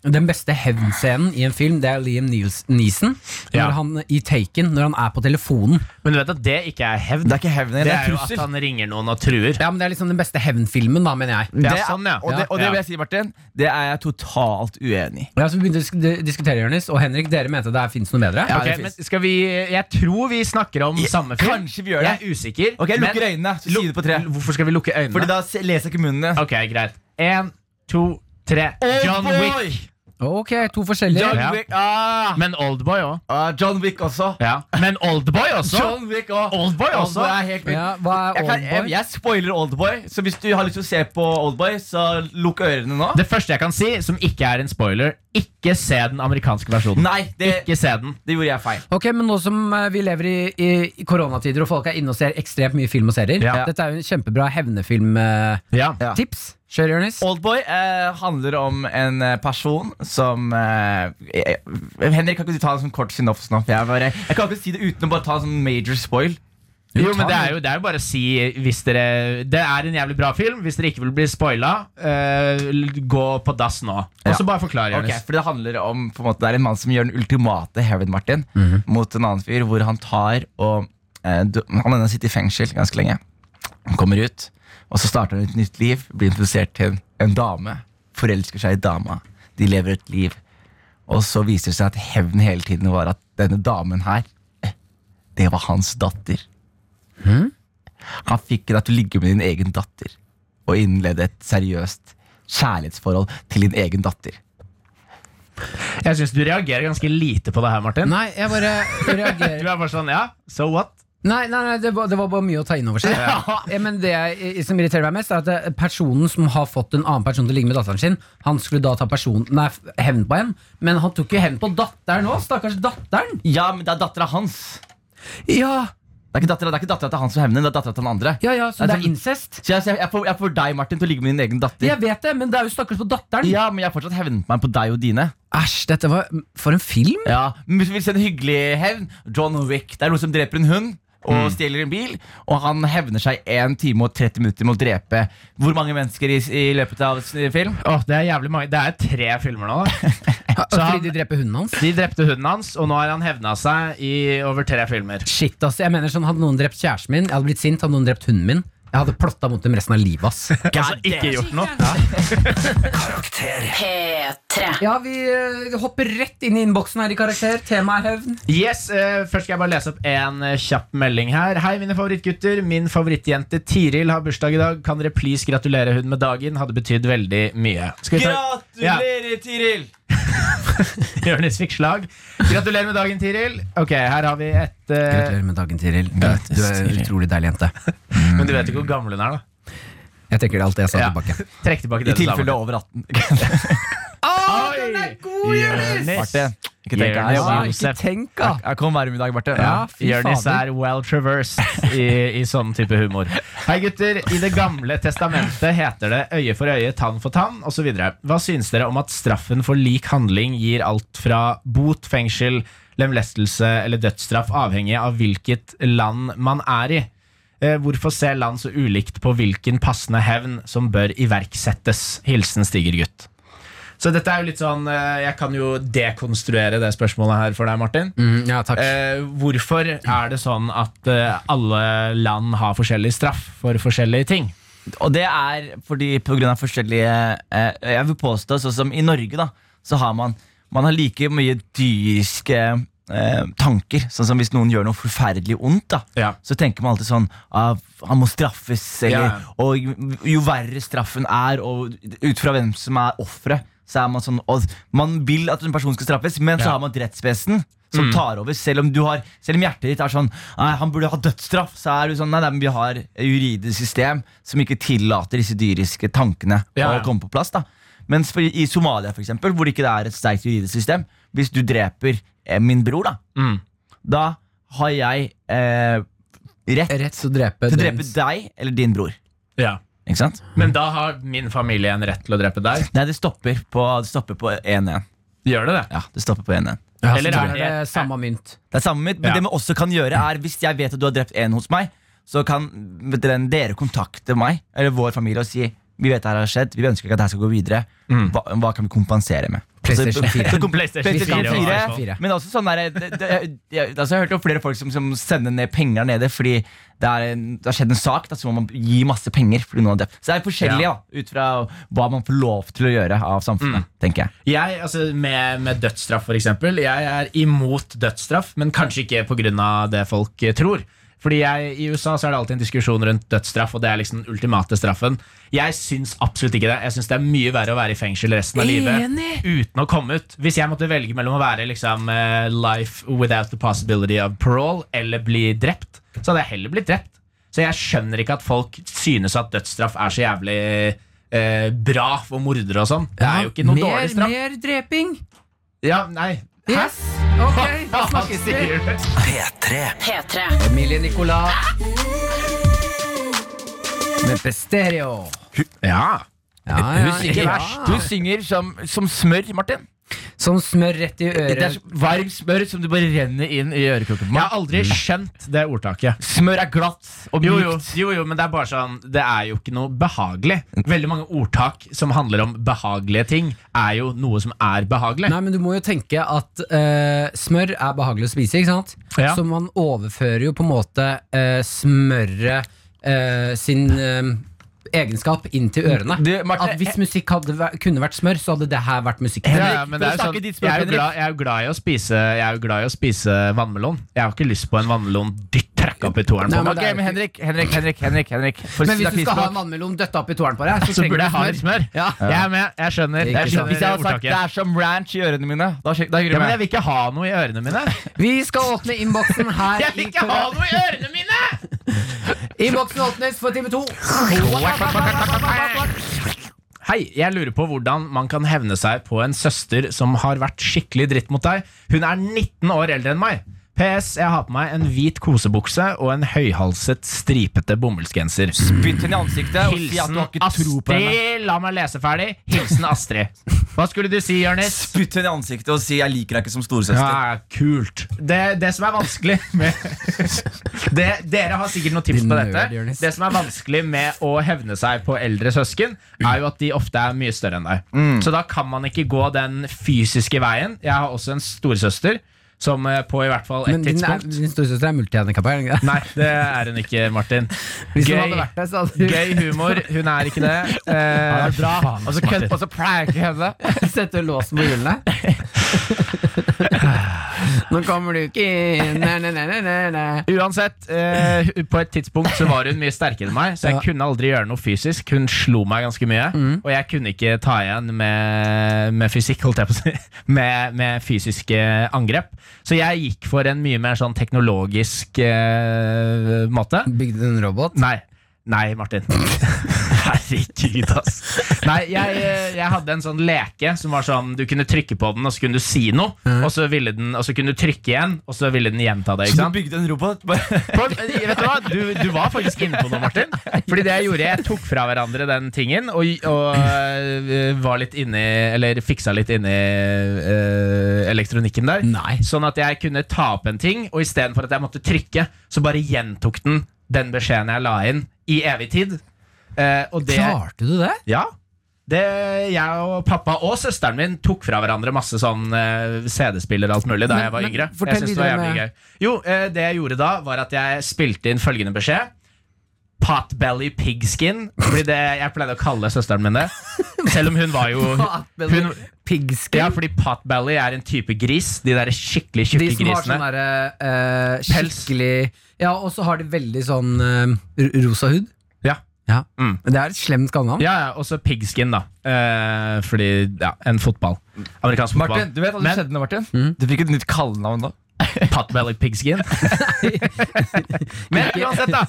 B: den beste hevnscenen i en film, det er Liam Nees- Neeson.
C: Ja.
B: Når han, eh, I Taken, når han er på telefonen.
C: Men du vet at det ikke er hevn.
D: Det er ikke Sånn, hevn,
C: Det er
D: det er
C: jo at
D: trussel.
C: han ringer noen og truer.
B: Ja, men Det er liksom den beste hevnfilmen, da, mener jeg.
C: Det er
D: Det er-
C: sånn, ja.
D: Og det, og det
C: Ja.
D: vil jeg si, Martin, det er jeg totalt uenig i.
B: Ja, så vi begynte å disk- de- diskutere, Jonis og Henrik, dere mente det fins noe bedre.
D: Ja,
C: Ok,
D: det
C: men
D: finnes.
C: skal vi Jeg tror vi snakker om samme film.
D: Kanskje vi gjør
C: Jeg
D: det.
C: er usikker.
D: Ok, jeg
C: men-
D: lukker øynene, så
C: Luk-
D: sier du på tre.
C: Hvorfor skal vi lukke øynene?
D: Fordi da se- leser jeg ikke munnen din.
C: ok, greit. En, to, tre. John Wick.
B: Ok, to forskjellige.
D: John
C: Ja.
D: Wick, ah,
C: Men Oldboy òg.
D: ah, John Wick også.
C: Ja. Men Oldboy også.
D: John Wick også.
C: Oldboy også.
D: Oldboy er helt vild.
B: Ja, hva er
D: Jeg, kan, jeg,
B: Oldboy?
D: jeg spoiler Oldboy, så hvis du har lyst til å se på Oldboy, så lukk ørene nå.
C: Det første jeg kan si, som ikke er en spoiler, ikke se den amerikanske versjonen.
D: Nei, det,
C: Ikke se den.
D: det gjorde jeg feil.
B: Ok, men nå som eh, vi lever i, i, i koronatider og folk er inne og ser ekstremt mye film og serier,
C: Ja.
B: dette er jo en kjempebra eh, hevnefilmtips.
C: Ja.
D: Ja.
B: Kjør, Jonis.
D: Oldboy eh, handler om en eh, person som eh, eh, Henrik, kan ikke du ta en sånn kort synops nå? For Jeg, bare, jeg kan ikke si det uten å bare ta en sånn major spoil.
C: Jo, men det er jo, det er jo bare å si hvis dere Det er en jævlig bra film. Hvis dere ikke vil bli spoila, eh, gå på dass nå. Og så bare forklar,
D: Ok,
C: Jonis.
D: for Det handler om på en måte, Det er en mann som gjør den ultimate Heaven Martin mot en annen fyr, hvor han tar og eh, du, Han har sittet i fengsel ganske lenge. Han kommer ut, og så starter han et nytt liv. Blir introdusert til en, en dame. Forelsker seg i dama. De lever et liv. Og så viser det seg at hevnen hele tiden var at denne damen her, eh, det var hans datter. Han fikk deg til å ligge med din egen datter og innlede et seriøst kjærlighetsforhold til din egen datter.
C: Jeg syns du reagerer ganske lite på det her, Martin.
B: Nei, jeg bare
C: Du
B: reagerer
C: er bare sånn, ja, so what?
B: Nei, nei, nei det, var, det var bare mye å ta inn over seg. Eh, Men det jeg, som irriterer meg mest, er at eh, personen som har fått en annen person til å ligge med datteren sin, han skulle da ta person, nei, f- hevn på en, men han tok jo hevn på datteren òg. Stakkars datteren.
D: Ja, men det er dattera hans.
B: Ja,
D: Det er ikke dattera, det er ikke dattera til han som hevner, det er dattera til den andre.
B: ja, ja, så det er sånn
D: Altså,
B: incest.
D: Så jeg, så jeg, jeg, får, jeg får deg, Martin, til å ligge med din egen datter.
B: Jeg vet det, men det er jo stakkars på datteren.
D: Ja, men jeg har fortsatt hevnet meg på deg og dine.
B: Æsj, dette var For en film?
D: Ja, men Hvis du vil se en hyggelig hevn, John Wick. Det er noen som dreper en hund. og stjeler en bil. Og han hevner seg 1 time og 30 minutter med å drepe hvor mange mennesker i, i løpet av s- film?
C: Åh, det er jævlig mange Det er tre filmer nå. da. Så
B: Fordi
C: han,
B: de dreper hunden hans?
C: de drepte hunden hans, og nå har han hevna seg i over tre filmer.
B: Shit, ass. Jeg mener sånn, Hadde noen drept kjæresten min, jeg hadde blitt sint. Hadde noen drept hunden min, jeg hadde plotta mot dem resten av livet. ass
C: Altså ikke gjort noe.
A: Karakter.
E: P3.
B: Ja, Vi eh, hopper rett inn i innboksen her i karakter. Temaet er hevn.
C: Yes, eh, Først skal jeg bare lese opp en eh, kjapp melding her. Hei, mine favorittgutter. Min favorittjente Tiril har bursdag i dag. Kan dere please gratulere hun med dagen? Hadde betydd veldig mye. Skal vi ta Ja.
D: Tiril!
C: Jonis fikk slag. Gratulerer med dagen, Tiril. Ok, her har vi et eh,
B: Gratulerer med dagen, Tiril. Du er- Du er en utrolig deilig jente.
C: Men du vet ikke hvor gammel hun er, da.
B: Jeg tenker det er alt det jeg sa
C: Ja.
B: tilbake.
C: Trekk tilbake
D: I
C: det du sa,
D: tilfelle du er over 18.
C: Martin. Oi! Jonis.
D: Barte, ikke tenk
C: Jonis
D: deg
C: Josef.
B: Tenk, da!
D: Jeg kom varm i dag, Barte.
C: Ja,
B: fy
C: Jonis
B: fader.
C: er well traversed i, i sånn type humor. Hei, gutter. I Det gamle testamentet heter det øye for øye, tann for tann osv. Hva syns dere om at straffen for lik handling gir alt fra bot, fengsel, lemlestelse eller dødsstraff, avhengig av hvilket land man er i? Eh, Hvorfor ser land så ulikt på hvilken passende hevn som bør iverksettes? Hilsen Stiger-gutt. Så dette er jo litt sånn eh, Jeg kan jo dekonstruere det spørsmålet her for deg, Martin.
B: Mm, ja, takk.
C: Eh, hvorfor er det sånn at eh, alle land har forskjellig straff for forskjellige ting?
D: Og det er fordi på grunn av forskjellige eh, Jeg vil påstå, sånn som i Norge da Så har man, man har like mye dyriske eh, tanker Sånn som hvis noen gjør noe forferdelig ondt da
C: Ja.
D: Så tenker man alltid sånn ah, Han må straffes eller,
C: Ja.
D: Og jo- jo verre straffen er Og ut fra hvem som er offret Så er man sånn og Man vil at en person skal straffes Men
C: Ja. Mm.
D: så har man et rettsvesen som tar over Selv om, du har, selv om hjertet ditt er sånn Nei, han burde ha dødsstraff Så er du sånn, nei, nei, men vi har et juridisk system Som ikke tillater disse dyriske tankene
C: Ja, ja.
D: Å komme på plass da Mens for, i Somalia for eksempel Hvor det ikke er et sterkt juridisk system Hvis du dreper eh, min bror da Da har jeg eh, rett
B: Rett til å drepe
D: Til å drepe
B: dødens-
D: deg eller din bror
C: Ja.
D: Ikke sant?
C: Men da har min familie en rett til å drepe deg.
D: Nei, det stopper på det stopper på 1-1
C: Gjør det det?
D: Ja, det stopper på 1-1
B: Ja, så
C: Eller er
B: tror jeg
C: det-
B: det samme mynt?
D: Det er samme mitt, men
C: Ja.
D: det man også kan gjøre er Hvis jeg vet at du har drept en hos meg Så kan vet dere, dere kontakte meg Eller vår familie og si Vi vet dette har skjedd, vi ønsker ikke at dette skal gå videre hva, hva kan vi kompensere med? Altså,
B: PlayStation 4.
D: Så kom-
C: Mm. PlayStation
D: PlayStation
B: 4,
D: 4,
B: og iPhone.
D: Men også sånn der det, det, jeg, altså, jeg har hørt om flere folk som, som sender ned penger der nede Fordi det, er en, det har skjedd en sak da, Så må man gi masse penger fordi noen har drept Så det er forskjellig
C: Ja.
D: da, ut fra hva man får lov til å gjøre Av samfunnet, tenker jeg
C: Jeg, altså med, med dødsstraff, for eksempel. Jeg er imot dødsstraff, men kanskje ikke pga. det folk eh, tror. Fordi jeg, I USA så er det alltid en diskusjon rundt dødsstraff, og det er liksom den ultimate straffen. Jeg syns absolutt ikke det. Jeg syns det er mye verre å være i fengsel resten av livet uten å komme ut. Hvis jeg måtte velge mellom å være liksom eh, life without the possibility of parole eller bli drept, så hadde jeg heller blitt drept. Så jeg skjønner ikke at folk synes at dødsstraff er så jævlig eh, bra for mordere og sånn. Det er jo ikke noe
B: mer,
C: dårlig straff.
B: Mer dreping!
C: Ja, nei
B: Yes! Ok, da snakkes vi.
A: P3.
E: P3.
B: Emilie Nicolas med Pesterio.
C: Ja
B: Ja, ja, ja.
D: Du synger som, som smør, Martin
B: Som smør rett i
D: Det er
B: øret.
D: så varm smør som du bare renner inn i ørekroken. på
C: Jeg
D: meg.
C: har aldri skjønt det ordtaket
D: Smør er glatt og
C: jo jo,
D: mykt.
C: jo jo, men det er bare sånn Det er jo ikke noe behagelig Veldig mange ordtak som handler om behagelige ting Er jo noe som er behagelig
B: Nei, men Du må jo tenke at eh, smør er behagelig å spise, ikke sant?
C: Ja.
B: Så man overfører jo på en måte eh, smøret eh, sin eh, egenskap inn til ørene.
D: Du, Marte,
B: at Hvis musikk hadde, væ- kunne vært smør, så hadde det her vært musikk.
C: ja, ja, men det er jo
D: For å snakke
C: sånn, jeg,
D: ditt språk,
C: er jo
D: Henrik.
C: glad, jeg er jo glad i å spise Jeg er jo glad i å spise vannmelon Jeg har ikke lyst på en vannmelon Dytt trekk opp i toeren
B: Nei,
C: på
B: men
C: meg
D: Ok,
B: det er jo
D: men Henrik, Henrik, Henrik, Henrik, Henrik. For
B: Men hvis du
D: snakke
B: skal ha
D: ditt
B: en vannmelon døtta opp i tåren på deg, så,
C: Så
B: trenger
C: burde
B: du
C: jeg ha litt smør
B: Ja.
C: Jeg er med, jeg skjønner,
B: Ikke
C: jeg
B: sant.
D: språk-
C: skjønner
D: Hvis jeg hadde sagt
C: ordtaket.
D: det er som ranch i ørene mine, da, skjø- da
C: ja,
D: gruer
C: men jeg
D: jeg meg.
C: vil ikke ha noe i ørene mine
B: Vi skal åpne innboksen her.
C: Jeg vil
B: i
C: ikke ha
B: Kora-
C: noe i ørene mine
B: Innboksen åpnes for time to.
C: Hei, jeg lurer på hvordan man kan hevne seg på en søster som har vært skikkelig dritt mot deg. Hun er 19 år eldre enn meg. PS, jeg har på meg en hvit kosebukse og en høyhalset, stripete bomullsgenser.
D: Spytt henne i ansiktet og si at du
C: Hilsen
D: har ikke tro på henne.
C: Astrid. La meg lese ferdig. Hilsen Astrid. Hva skulle du si, Jonis?
D: Spytt henne i ansiktet og si 'jeg liker deg ikke som storesøster'.
C: Ja, kult. Det, det som er vanskelig med Det, dere har sikkert noen tips
B: Din
C: på
B: nerd,
C: dette.
B: Jonis.
C: Det som er vanskelig med å hevne seg på eldre søsken, er jo at de ofte er mye større enn deg.
B: Mm.
C: Så da kan man ikke gå den fysiske veien. Jeg har også en storesøster som eh, på i hvert fall et
B: Men din, er-
C: tidspunkt
B: din storesøster er multihandikappa?
C: Nei, det er hun ikke, Martin.
B: Hvis hun
C: Gøy.
B: hadde vært der, så hadde
C: Gøy humor. Hun er ikke det. Eh,
B: bra.
D: Og så kødd- og så pranker jeg henne.
B: Sette låsen på hjulene. Nå kommer du ikke inn Nei, nei, nei, nei, nei.
C: Uansett, eh, på et tidspunkt så var hun mye sterkere enn meg, så jeg
B: Ja. Mm.
C: kunne aldri gjøre noe fysisk. Hun slo meg ganske mye, og jeg kunne ikke ta igjen med, med fysikk, holdt jeg på å si. Med, med fysiske angrep. Så jeg gikk for en mye mer sånn teknologisk eh, måte.
B: Bygde du en robot?
C: Nei. Nei, Martin. Herregud, ass. Nei, jeg, jeg hadde en sånn leke som var sånn Du kunne trykke på den, og så kunne du si noe, og, så ville den, og så kunne du trykke igjen, og så ville den gjenta det. ikke sant?
D: bygde en robot?
C: På, vet du hva? Du, du var faktisk inne på noe, Martin. Fordi det jeg gjorde, jeg tok fra hverandre den tingen og, og øh, var litt inni Eller fiksa litt inni øh, elektronikken der.
B: Nei.
C: Sånn at jeg kunne ta opp en ting, og istedenfor at jeg måtte trykke, så bare gjentok den den beskjeden jeg la inn, i evig tid. Eh, og det
B: Klarte du det?
C: ja. Det, jeg og pappa og søsteren min tok fra hverandre masse sånn eh, CD-spiller og alt mulig da
B: Men-
C: jeg var
B: men
C: yngre.
B: fortell
C: Jeg synes det var
B: videre
C: jævlig
B: med-
C: gøy. Jo, eh, det jeg gjorde da, var at jeg spilte inn følgende beskjed. Potbelly pigskin blir det jeg pleide å kalle søsteren min det. Selv om hun var jo hun,
B: Pigskin?
C: Ja, fordi potbelly er en type gris. De der skikkelig
B: de
C: tjukke
B: som har sånn
C: grisene.
B: derre eh,
C: Pels.
B: skikkelig Ja, og så har de veldig sånn eh, r- rosa hud.
C: Ja.
B: Ja.
C: Mm.
B: Det er et slemt kallenavn.
C: Ja, ja, også pigskin, da. Eh, fordi ja, en fotball. Amerikansk fotball.
D: Martin, du vet hva som
C: Men-
D: skjedde nå, Martin? Du fikk et nytt kallenavn da.
C: Potbelly pigskin. Men uansett, da.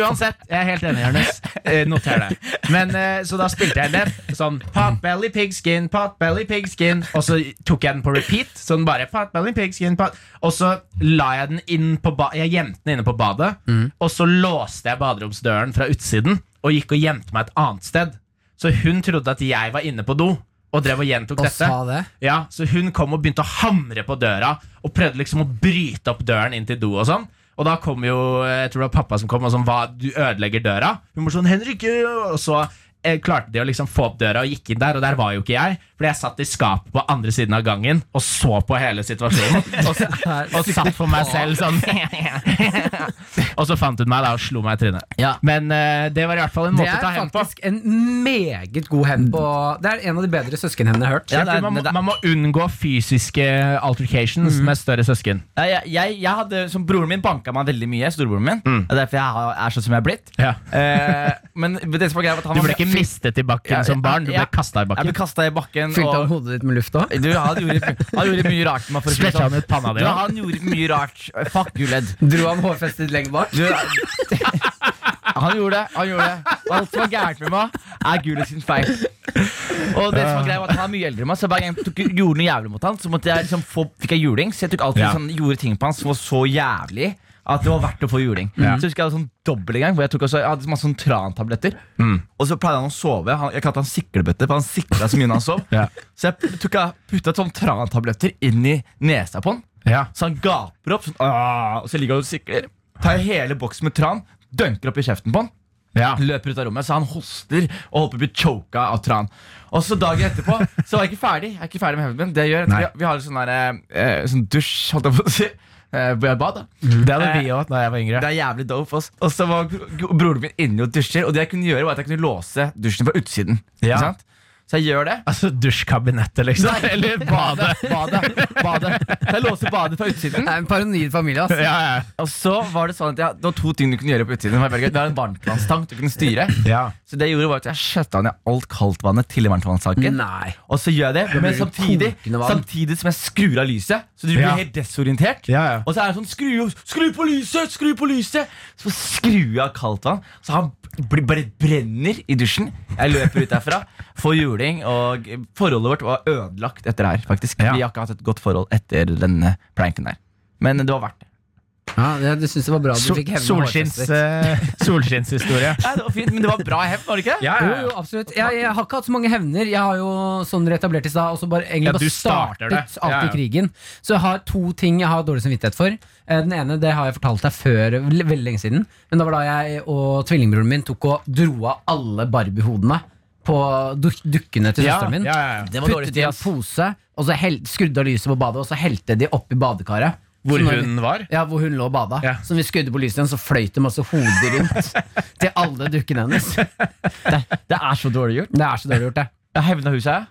C: Uansett, Jeg er helt enig, Jonis. Eh, Noter det. Men, eh, så da spilte jeg det sånn Potbelly pigskin, potbelly pigskin. Og så tok jeg den på repeat. Sånn bare potbelly pigskin pot. Og så la jeg den inn på ba Jeg gjemte den inne på badet. Og så låste jeg baderomsdøren fra utsiden og gikk og gjemte meg et annet sted. Så hun trodde at jeg var inne på do. Og drev og gjentok
B: Og
C: dette.
B: sa det.
C: Ja, Så hun kom og begynte å hamre på døra og prøvde liksom å bryte opp døren inn til do. Og sånn Og da kom jo jeg tror det var pappa som kom og sånn Hva, du ødelegger døra? Hun var sånn Henrik øh!» Og så eh, klarte de å liksom få opp døra og gikk inn der, og der var jo ikke jeg. Fordi jeg satt i skapet på andre siden av gangen og så på hele situasjonen. Og, s- og satt for meg selv sånn Og så fant hun meg da og slo meg i trynet.
B: Ja.
C: Men eh, det var i hvert fall en
B: Det
C: måte å
B: er
C: ta hevn på.
B: faktisk en meget god hevn på Det er en av de bedre søskenhevnene jeg har hørt.
D: Ja,
C: Jeg
D: det er-
C: tror man,
D: det er-
C: må, man må unngå fysiske altercations med større søsken.
D: Nei, Jeg, jeg, jeg hadde, som Broren min banka meg veldig mye. storebroren min Det er derfor jeg har- er sånn som jeg er blitt.
C: Mm. Ja.
D: Eh, men det som var greia var at han
C: Du
D: var
C: ble ikke mistet i bakken
D: Ja,
C: som barn, du ble
D: ja.
C: kasta i
D: Jeg ble
C: bakken.
D: kasta i bakken.
B: Fylte
D: og-
B: han hodet ditt med luft òg?
D: Du, han, gjorde, han gjorde mye rart med meg. for å si det
C: Spletcha han
D: sånn.
C: ut panna di
D: Du,
C: òg?
D: han gjorde mye rart. Fuck you, ledd.
B: Dro han hårfestet ditt lenger bak?
D: Du, han gjorde det. han gjorde det Alt som var gærent med meg, er Gulet sin feil. Og det som var greia var at Han er mye eldre enn meg, så hver gang jeg tok, gjorde noe jævlig mot han Så måtte jeg liksom få, fikk jeg juling. Så jeg tok alltid
C: Ja.
D: sånn, gjorde ting på han som var så jævlig at det var verdt å få juling. Så husker Jeg hadde sånn dobbel en gang hvor jeg, tok også, jeg hadde masse sånn trantabletter. Og så pleide han å sove. Han, jeg kalte han siklebøtte, for han sikla så mye når han sov.
C: Ja.
D: Så jeg tok- putta sånn trantabletter inn i nesa på han.
C: Ja.
D: Så han gaper opp, sånn, «Åh», og så ligger han og sikler. Tar jeg hele boksen med tran, dunker opp i kjeften på han.
C: Ja.
D: Løper ut av rommet, så han hoster og håper å bli choka av tran. Og så dagen etterpå så var jeg ikke ferdig. Jeg er ikke ferdig med hevnen min. Det jeg gjør,
C: Nei.
D: vi, vi har en sånn, der, eh, sånn dusj, holdt jeg på å si. eh, Hvor jeg bad, da.
C: Det hadde vi òg da jeg var
D: Det
C: yngre.
D: er jævlig dope. ass. Og så var gro- gro- broren min inni og dusjer, og det jeg kunne gjøre, var at jeg kunne låse dusjen fra utsiden.
C: Ja.
D: Ikke sant? Så jeg gjør det.
C: Altså dusjkabinettet, liksom. Eller badet.
D: Badet. badet. Så jeg låser badet fra utsiden.
B: Det er en paranoid familie, ass.
C: Ja, ja.
D: Og så var det sånn at jeg, Det var to ting du kunne gjøre på utsiden. Det var veldig gøy. Det var en varmtvannstank du kunne styre.
C: ja.
D: Så det jeg gjorde var at jeg skjøtta ned alt kaldtvannet til varmtvannstanken.
B: Nei.
D: Og så gjør jeg det, men
B: blir det
D: samtidig,
B: kokende vann.
D: samtidig som jeg skrur av lyset. Så du blir
C: Ja.
D: helt desorientert.
C: Ja, ja.
D: Og så er det sånn skru, skru på lyset! Skru på lyset! Så skrur jeg av kaldtvann, så han blir- bare brenner i dusjen. Jeg løper ut derfra, får juling, og forholdet vårt var ødelagt etter det her. faktisk
C: Ja.
D: Vi har ikke hatt et godt forhold etter denne pranken der. Men det var verdt det.
B: Ja, jeg syns det var bra du
C: Sol-
B: fikk hevne
C: Solskinns,
B: hårfestet ditt.
C: eh, solskinnshistorie.
D: Nei, det var fint, men det var bra hevn, var det ikke? det?
C: Ja, ja,
B: Jo,
C: ja.
B: jo, absolutt. Jeg, jeg har ikke hatt så mange hevner. Jeg har jo, som dere etablerte i stad, også bare, egentlig
C: Ja, du
B: bare
C: starter
B: startet
C: det.
B: alltid
C: Ja, ja.
B: krigen. Så jeg har to ting jeg har dårlig samvittighet for. Eh, Den ene det har jeg fortalt deg før, vel- veldig lenge siden. Men det var da jeg og tvillingbroren min tok og dro av alle Barbie-hodene på duk dukkene til
C: Ja,
B: søsteren min.
C: ja, ja, ja.
D: Det var dårlig
B: Puttet i
D: tid,
B: en
D: ass.
B: pose, og så hel skrudde av lyset på badet, og så helte de opp i badekaret.
C: Hvor
B: Så når-
C: hun var?
B: ja, hvor hun lå og bada.
C: Ja.
B: Så vi skudde på lyset igjen, så fløyt det masse hoder rundt til alle dukkene hennes.
D: Det, det er så dårlig gjort.
B: Det er så dårlig gjort, det.
D: Jeg hevna huset.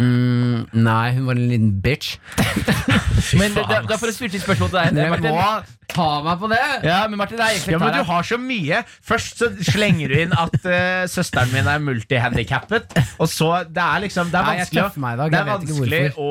B: Mm, nei, hun var en liten bitch.
D: jeg. Men det, det, det er for å styrte et spørsmål til deg,
B: Dere må
D: Martin.
B: ta meg på det!
D: Ja, men Martin, det er egentlig
C: Ja, men
D: der,
C: du har så mye. Først så slenger du inn at eh, søsteren min er multihandikappet. Og så Det er liksom Det er
B: Nei, jeg
C: vanskelig, å-
B: tøffer meg i dag,
C: det
B: jeg
C: er
B: vet ikke
C: vanskelig
B: hvorfor.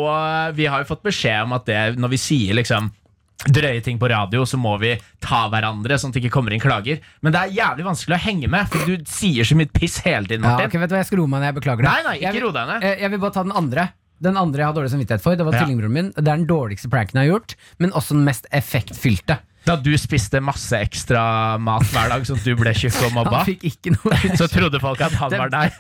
C: og vi har jo fått beskjed om at det når vi sier liksom Drøye ting på radio, så må vi ta hverandre. Sånn at det ikke kommer inn klager Men det er jævlig vanskelig å henge med, for du sier så mye piss hele tiden.
B: Ja,
C: Martin
B: ok, vet du hva, Jeg skal roe meg ned. Jeg beklager det.
C: Nei, nei, ikke
B: Jeg vil-
C: ro deg ned.
B: eh, Jeg vil bare ta den andre. Den andre jeg har dårlig samvittighet for, det var
C: Ja.
B: tvillingbroren min. Det er den dårligste pranken jeg har gjort, men også den mest effektfylte.
C: Da du spiste masse ekstra mat hver dag, sånn at du ble tjukk og mobba,
B: Han fikk ikke noe
C: så trodde folk at han var deg.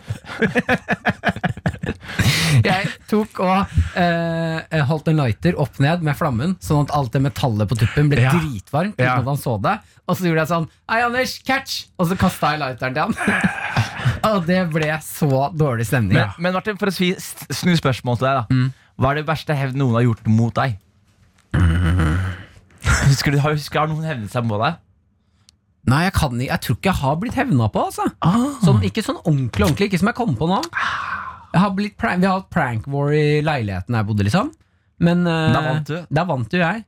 B: Jeg tok og eh, holdt en lighter opp ned med flammen, sånn at alt det metallet på tuppen ble
C: Ja.
B: dritvarmt. Uten
C: Ja.
B: at han så det Og så gjorde jeg sånn Hei, Anders, catch! Og så kasta jeg lighteren til han. og det ble så dårlig stemning.
D: Men, men Martin, for å si, s- snu spørsmålet til deg, da. Hva er det verste hevn noen har gjort mot deg? Husker du, har, husker, har noen hevnet seg på deg?
B: Nei, jeg, kan, ikke- jeg tror ikke jeg har blitt hevna på, altså.
D: Ah.
B: Sånn, ikke sånn ordentlig, ordentlig. Ikke som jeg kom på nå. Jeg har blitt prank, vi har hatt prank war i leiligheten jeg bodde, liksom. Men eh,
D: Da vant du.
B: Da vant jo jeg.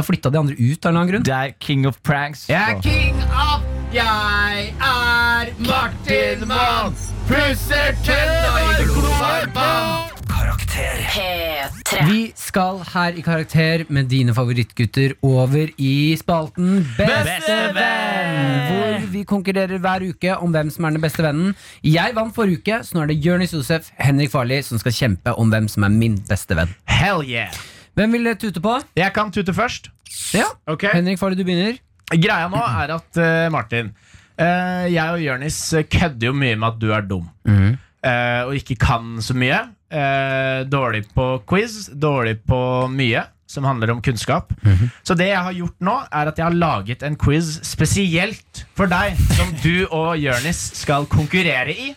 B: Da flytta de andre ut av en eller annen grunn.
D: Det er king of pranks.
B: Jeg er king of Jeg er Martin Mons Pusser tenna i glovarmbånd
A: Karakter.
E: P3.
B: Vi skal her i karakter med dine favorittgutter over i spalten Beste venn Hvor vi konkurrerer hver uke om hvem som er den beste vennen Jeg vant forrige uke, så nå er det Jørnis Josef, Henrik Farli Som skal kjempe om hvem som er min beste venn
C: Hell yeah!
B: Hvem vil dere tute på?
C: Jeg kan tute først.
B: Ja,
C: Ok.
B: Henrik Farli, du begynner
C: Greia nå er at eh, Martin eh, Jeg og Jørnis kødder jo mye med at du er dum
B: Mhm.
C: eh, Og ikke kan så mye Eh, Dårlig på quiz Dårlig på mye Som handler om kunnskap
B: Mhm.
C: Så det jeg har gjort nå er at jeg har laget en quiz Spesielt for deg Som du og Jørnis skal konkurrere i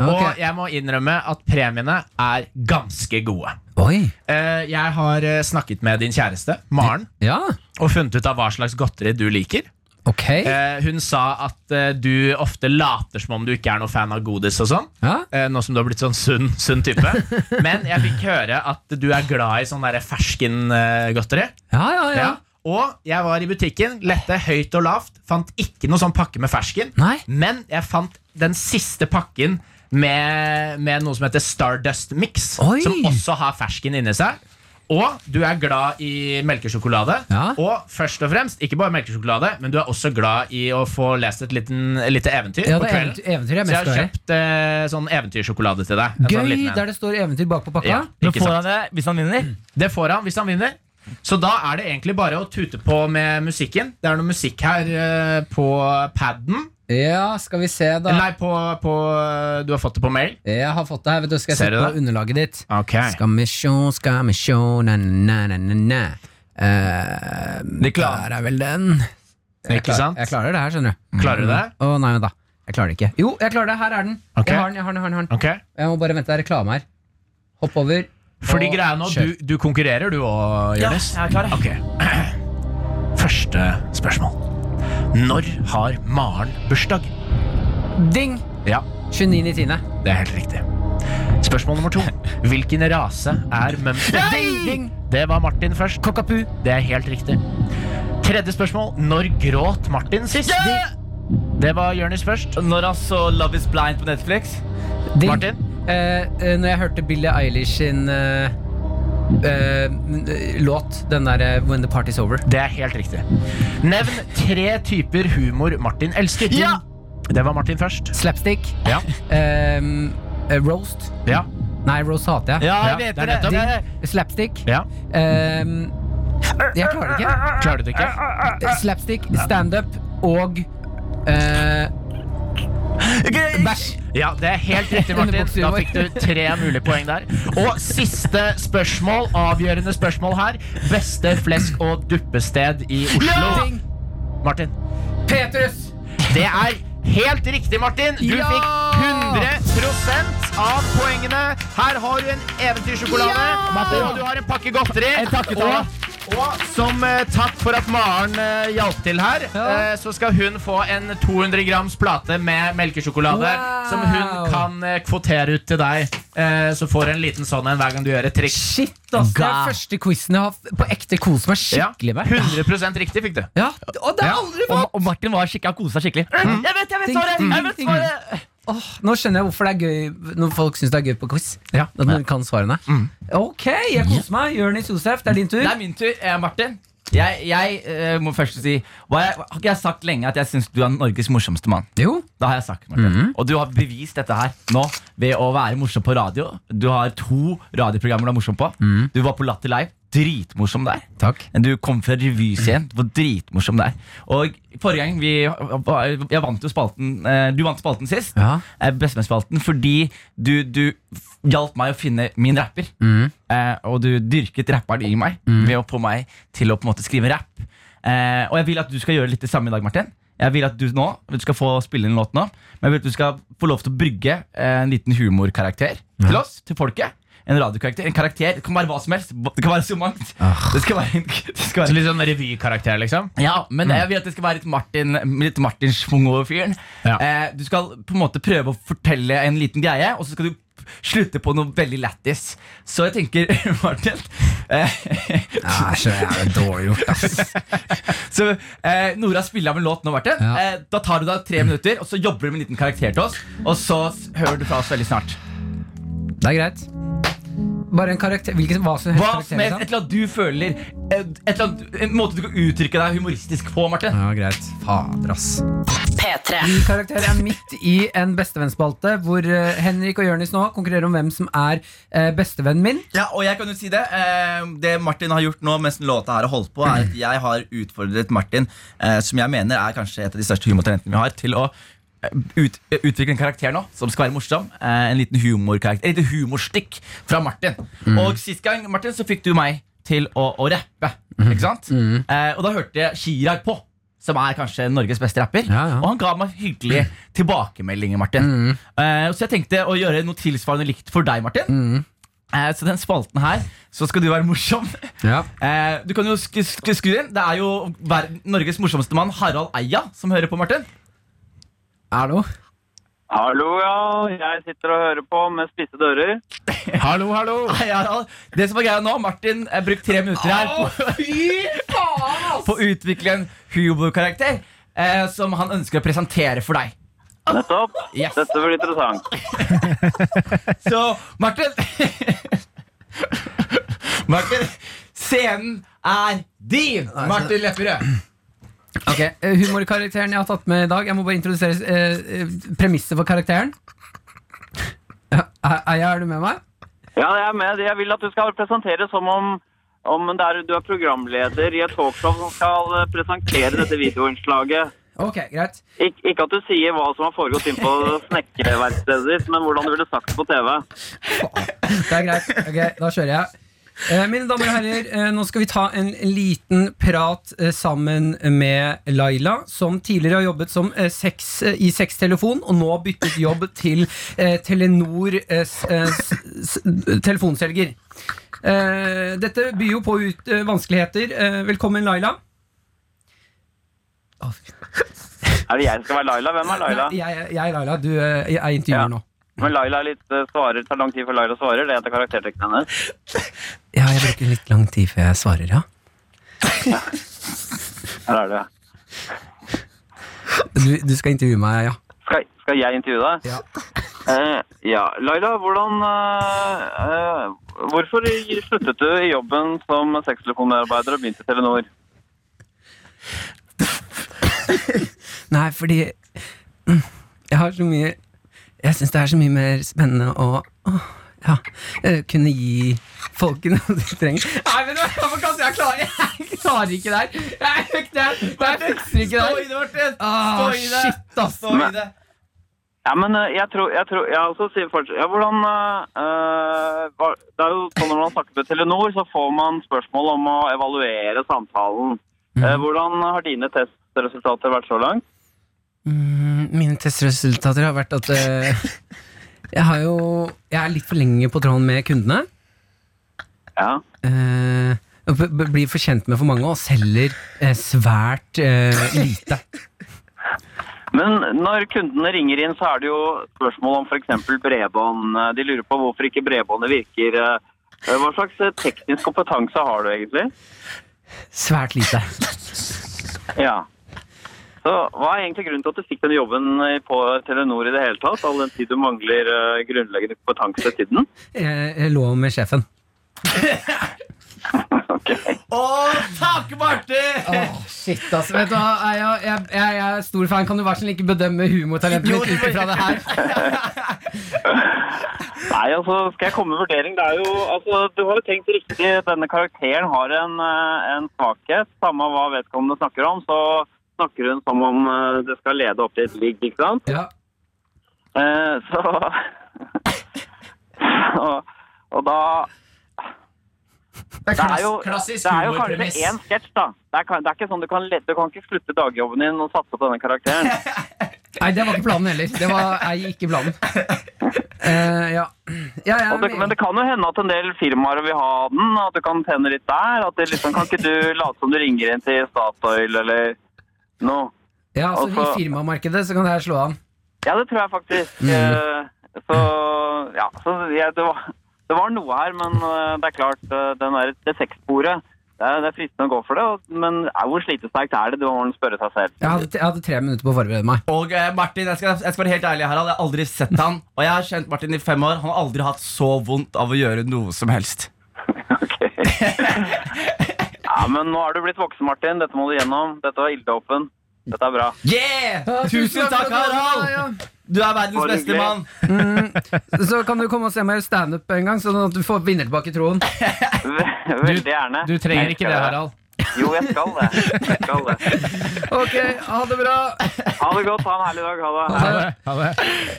C: Og
B: Ok.
C: jeg må innrømme at premiene er ganske gode
B: Oi
C: Eh, Jeg har eh, snakket med din kjæreste, Maren
B: Ja,
C: Og funnet ut av hva slags godteri du liker
B: ok
C: Eh, hun sa at eh, du ofte later som om du ikke er noen fan av godis og sånn.
B: Ja,
C: Eh, nå som du har blitt sånn sunn, sunn type. Men jeg fikk høre at du er glad i sånn derre ferskengodteri.
B: ja, ja, ja.
C: Og jeg var i butikken, lette høyt og lavt, fant ikke noen sånn pakke med fersken.
B: Nei.
C: Men jeg fant den siste pakken med, med noe som heter Stardust Mix,
B: Oi.
C: som også har fersken inni seg. Og du er glad i melkesjokolade.
B: Ja.
C: Og først og fremst, ikke bare melkesjokolade, men du er også glad i å få lest et liten, lite eventyr
B: Ja,
C: på
B: det er
C: kvelden.
B: eventyr, eventyr jeg er mest
C: Så jeg har
B: glad i.
C: kjøpt eh, sånn eventyrsjokolade til deg. En sånn
B: Gøy,
C: liten en.
B: der det står eventyr bak på pakka.
C: Ja.
D: Men
C: Ikke
D: får
C: sant.
D: han det hvis han vinner?
C: Det får han hvis han vinner. Så da er det egentlig bare å tute på med musikken. Det er noe musikk her eh, på paden.
B: Ja, skal vi se, da.
C: Nei, på, på eh, Du har fått det på mail.
B: Jeg har fått det her. vet du Skal jeg
C: Ser
B: sette
C: du
B: på
C: det?
B: underlaget ditt?
C: Ok
B: Skal vi sjå, skal vi sjå, na-na-na-na. Uh,
D: Det klarer.
B: Der er vel den. Jeg
C: Ikke
B: klarer,
C: sant?
B: jeg klarer det her, skjønner du. Mm.
C: Klarer du det?
B: Å nei, vent, da. Jeg klarer det ikke. Jo, jeg klarer det. Her er den.
C: Ok.
B: Jeg har den, jeg har den, jeg har den, jeg har den.
C: Ok
B: Jeg må bare vente, det er reklame her. Hopp over.
C: Fordi
B: og
C: greia nå,
B: kjør.
C: du, du konkurrerer du og Jonis?
D: jeg er klar, jeg.
C: Ok Første spørsmål. Når har Maren bursdag?
B: Ding!
C: Ja,
B: 29 i tiende.
C: det er helt riktig. Spørsmål nummer to. Hvilken rase er mønster?
B: Ding, ding!
C: Det var Martin først. Kokkapu. Det er helt riktig. Tredje spørsmål. Når gråt Martin sist? Det var Jonis først.
D: Når han så Love Is Blind på Netflix
B: Ding.
C: Martin?
B: Eh, eh, når jeg hørte Billie Eilish sin eh, eh, n- eh, låt, den derre When the party's over.
C: Det er helt riktig. Nevn tre typer humor Martin elsker.
B: Ja!
C: Det var Martin først.
B: Slapstick.
C: Ja.
B: ehm, eh, roast.
C: Ja.
B: Nei, roast hater jeg.
C: Ja, jeg vet det.
B: Slapstick.
C: Ja.
B: ehm, Jeg klarer det ikke.
C: Klarer du det ikke?
B: Slapstick, standup og eh, Bæsj.
C: Ja, det er helt riktig, Martin. Da
B: Underbukshumor.
C: fikk du tre mulige poeng der. Og siste spørsmål, avgjørende spørsmål her. Beste flesk- og duppested i Oslo?
B: Ting.
C: Martin.
B: Petrus!
C: Det er helt riktig, Martin. Du
B: Ja!
C: fikk 100 av poengene. Her har du en eventyrsjokolade, og du har en pakke godteri.
D: takketale.
C: Og, og som eh, takk for at Maren eh, hjalp til her,
B: Ja.
C: eh, så skal hun få en 200 grams plate med melkesjokolade
B: Wow.
C: som hun kan eh, kvotere ut til deg. Eh, så får du en liten sånn en hver gang du gjør et triks.
B: Shit, ass. Det
D: God.
B: er første quizen jeg har på ekte kost meg
C: Ja,
B: skikkelig med.
C: 100 riktig fikk du.
B: Ja, og det har jeg aldri
D: Og,
B: fått!
D: og Martin var skikkelig, han koste seg skikkelig. Jeg vet, jeg vet svaret! Jeg vet svaret.
B: Åh, nå skjønner jeg hvorfor det er gøy når folk syns det er gøy på quiz.
C: Ja.
B: At man kan svarene. Ok, jeg koser meg. Jonis Josef, det er din tur.
D: Det er min tur, eh, Martin. Jeg, jeg eh, må først si hva jeg, Har ikke jeg sagt lenge at jeg syns du er Norges morsomste mann?
B: Jo.
D: Det har jeg sagt, Martin.
B: Mhm.
D: Og du har bevist dette her nå ved å være morsom på radio. Du har to radioprogrammer du er morsom på. Du var på Latter Live. Dritmorsom der.
B: Mhm. Takk.
D: Du kom fra revyscenen. Du var dritmorsom der. Og forrige gang vi Jeg vant jo spalten eh, Du vant spalten sist.
B: Ja.
D: Eh, Bestemannsspalten. Fordi du, du f- hjalp meg å finne min rapper. Eh, og du dyrket rapperen i meg ved å få meg til å på en måte skrive rapp. Eh, og jeg vil at du skal gjøre litt det samme i dag, Martin. Jeg vil at du nå du skal få spille en låt nå. Men jeg vil at du skal få lov til å brygge eh, en liten humorkarakter til oss, til folket. En radiokarakter. En karakter. Det kan være hva som helst. Det kan være så mangt. Det skal være, en- det
C: Så
D: skal være
C: litt sånn revykarakter, liksom?
D: ja, men jeg vil at det skal være litt Martin Litt Martin Schwung over fyren.
C: Ja.
D: Eh, du skal på en måte prøve å fortelle en liten greie, og så skal du p- slutte på noe veldig lættis. Så jeg tenker, Martin eh,
B: så jævlig dårlig gjort, altså. ass.
D: Så eh, Nora spiller av en låt nå, Martin.
B: Ja.
D: Eh, da tar du deg tre minutter, og så jobber du med en liten karakter til oss. Og så s- hører du fra oss veldig snart.
B: Det er greit. Bare en karakter Hvilken hva som helst.
D: Hva
B: karakter,
D: som helst,
B: liksom.
D: Et eller annet du føler. eh, Et eller annet, en måte du kan uttrykke deg humoristisk på, Martin.
B: Ja, greit. Fader, ass.
E: P3.
B: Min karakter er midt i en bestevennsspalte, hvor eh, Henrik og Jonis nå konkurrerer om hvem som er eh, bestevennen min.
F: Ja, og jeg kan jo si det. Eh, det Martin har gjort nå mens den låta her har holdt på, er at jeg har utfordret Martin, eh, som jeg mener er kanskje et av de største humortalentene vi har, til å eh,
D: ut, utvikle en karakter nå som skal være morsom. Eh, en liten humorkarakter Et lite humorstikk fra Martin.
B: Mm.
D: Og sist gang Martin så fikk du meg til å, å rappe.
B: Mm.
D: Ikke sant? Eh, og da hørte jeg Chirag på. Som er kanskje Norges beste rapper.
B: Ja, Mm. ja.
D: Og han ga meg hyggelige tilbakemeldinger. Martin eh, Så jeg tenkte å gjøre noe tilsvarende likt for deg,
B: Mm.
D: Martin. Eh, så den spalten her, så skal du være morsom.
B: Ja.
D: Eh, du kan jo sk sk skru inn. Det er jo ver Norges morsomste mann, Harald Eia, som hører på, Martin.
B: Er det
G: Hallo, ja. Jeg sitter og hører på med spisse dører.
C: Hallo, hallo.
D: Nei, Harald, det som er greia nå, Martin har brukt tre minutter her på, på å utvikle en humorkarakter eh, som han ønsker å presentere for deg.
G: Nettopp.
D: Yes.
G: Dette blir interessant.
D: Så Martin Martin, scenen er din! Martin Lepperød.
B: Ok, eh, Humorkarakteren jeg har tatt med i dag Jeg må bare introdusere eh, eh, premisset for karakteren. Ja, Eia, er du med meg?
G: Ja, jeg er med. Jeg vil at du skal presentere som om, om det er, du er programleder i et talkshow som skal eh, presentere dette videoinnslaget.
B: Ok, greit.
G: Ik ikke at du sier hva som har foregått inn på snekkerverkstedet ditt, men hvordan du ville sagt det på TV.
B: Det er greit. Ok, Da kjører jeg. Eh, mine damer og herrer, eh, nå skal vi ta en liten prat eh, sammen med Laila, som tidligere har jobbet som eh, sex, eh, i sextelefon, og nå byttet jobb til eh, Telenor eh, s, eh, s, s, telefonselger. Eh, dette byr jo på ut, eh, vanskeligheter. Eh, velkommen, Laila. Å, fy-
G: Er det jeg som skal være Laila? Hvem er Laila?
B: Nei, Jeg, jeg er Laila. Du eh, jeg er intervjuer
G: Ja.
B: nå.
G: Men Laila er litt eh, svarer. Tar lang tid før Laila svarer. Det heter karaktertrekken hennes.
B: Ja, jeg bruker litt lang tid før jeg svarer, ja.
G: Her er du.
B: Du, du skal intervjue meg, ja.
G: Skal, skal jeg intervjue deg?
B: Ja.
G: Eh, ja. Laila, hvordan eh, eh, Hvorfor sluttet du i jobben som sextelefonarbeider og begynte i Telenor?
B: Nei, fordi
H: mm,
B: Jeg har så mye Jeg syns det er så mye mer spennende å åh,
H: ja, eh, kunne gi folk noe de trenger.
B: Nei, men hvorfor kan jeg klare Jeg klarer ikke det her. Jeg er ikke der. Jeg fikser ikke det her.
F: det, Martin!
B: Ah,
F: Stå i det!
B: shit, ass.
F: Stå i det.
G: Ja, men eh, jeg tror, jeg tror jeg også sier fortsatt, ja, hvordan, eh, hva- Det er jo sånn når man snakker med Telenor, så får man spørsmål om å evaluere samtalen. Eh, hvordan har dine testresultater vært så langt?
H: Mm, Mine testresultater har vært at eh, jeg har jo Jeg er litt for lenge på tråden med kundene.
G: Ja.
H: eh, og b- b- blir for kjent med for mange og selger eh, svært eh, lite.
G: Men når kundene ringer inn, så er det jo spørsmål om f.eks. bredbånd. Eh, De lurer på hvorfor ikke bredbåndet virker. Eh, Hva slags eh, teknisk kompetanse har du egentlig?
H: Svært lite.
G: Ja. Så Hva er egentlig grunnen til at du fikk den jobben eh, på Telenor i det hele tatt? All den tid du mangler eh, grunnleggende kompetanse til den?
H: Eh, Jeg, jeg lå med sjefen.
G: Ok.
B: Åh, shit, ass. Vet du hva, jeg, jeg, jeg, jeg er stor fan. Kan du være så snill ikke bedømme humortalentet mitt ut ifra det her?
G: Nei, altså, skal jeg komme med vurdering? Det er jo, altså, du har jo tenkt riktig. Denne karakteren har en, eh, en svakhet. Samme hva vedkommende snakker om, så snakker hun som om eh, det skal lede opp til et ligg, ikke sant?
B: Ja.
G: Eh, så og, og da
C: Det er,
G: Det er
C: klass,
G: jo,
C: klassisk
G: det er jo kanskje
C: humorpremiss.
G: én sketsj, da. Det er, kan- det er ikke sånn Du kan, le- du kan ikke slutte dagjobben din og satse på denne karakteren.
B: Nei, det var ikke planen heller. Det var er ikke planen.
H: Eh, ja. Ja, jeg er
G: Og det, men
H: med.
G: det kan jo hende at en del firmaer vil ha den, at du kan tjene litt der. At det liksom, kan ikke du late som du ringer inn til Statoil eller noe?
H: ja,
B: Altså, I
G: Altså-
B: firmamarkedet så kan det her slå an.
G: Ja, det tror jeg faktisk.
B: Mm.
G: Eh, Så ja, så jeg, det, var, det var noe her, men eh, det er klart, eh, den der, det sexsporet det er, det er fristende å gå for det, og- men eh, hvor slitesterkt er det? Det må man spørre seg selv.
B: Jeg hadde, jeg hadde tre minutter på å forberede meg.
F: Og eh, Martin, jeg skal, jeg skal være helt ærlig, Harald. Jeg har aldri sett han Og jeg har kjent Martin i fem år. Han har aldri hatt så vondt av å gjøre noe som helst.
G: Ja, men nå er du blitt voksen, Martin. Dette må du gjennom. Dette var ilddåpen. Dette er bra.
F: Yeah! Tusen takk, Harald! Du er verdens
G: Bare
F: beste
G: hyggelig.
F: mann.
H: Så kan du komme og se meg i standup en gang, sånn at du får vinner tilbake troen.
G: Ve- Veldig gjerne.
B: Du trenger
G: Jeg
B: ikke
G: skal
B: det,
G: være-
B: Harald.
G: Jo, jeg skal det. Jeg skal det.
H: Ok, ha det bra.
G: Ha det godt. Ha en herlig dag. Ha det.
B: Jeg
F: Ja,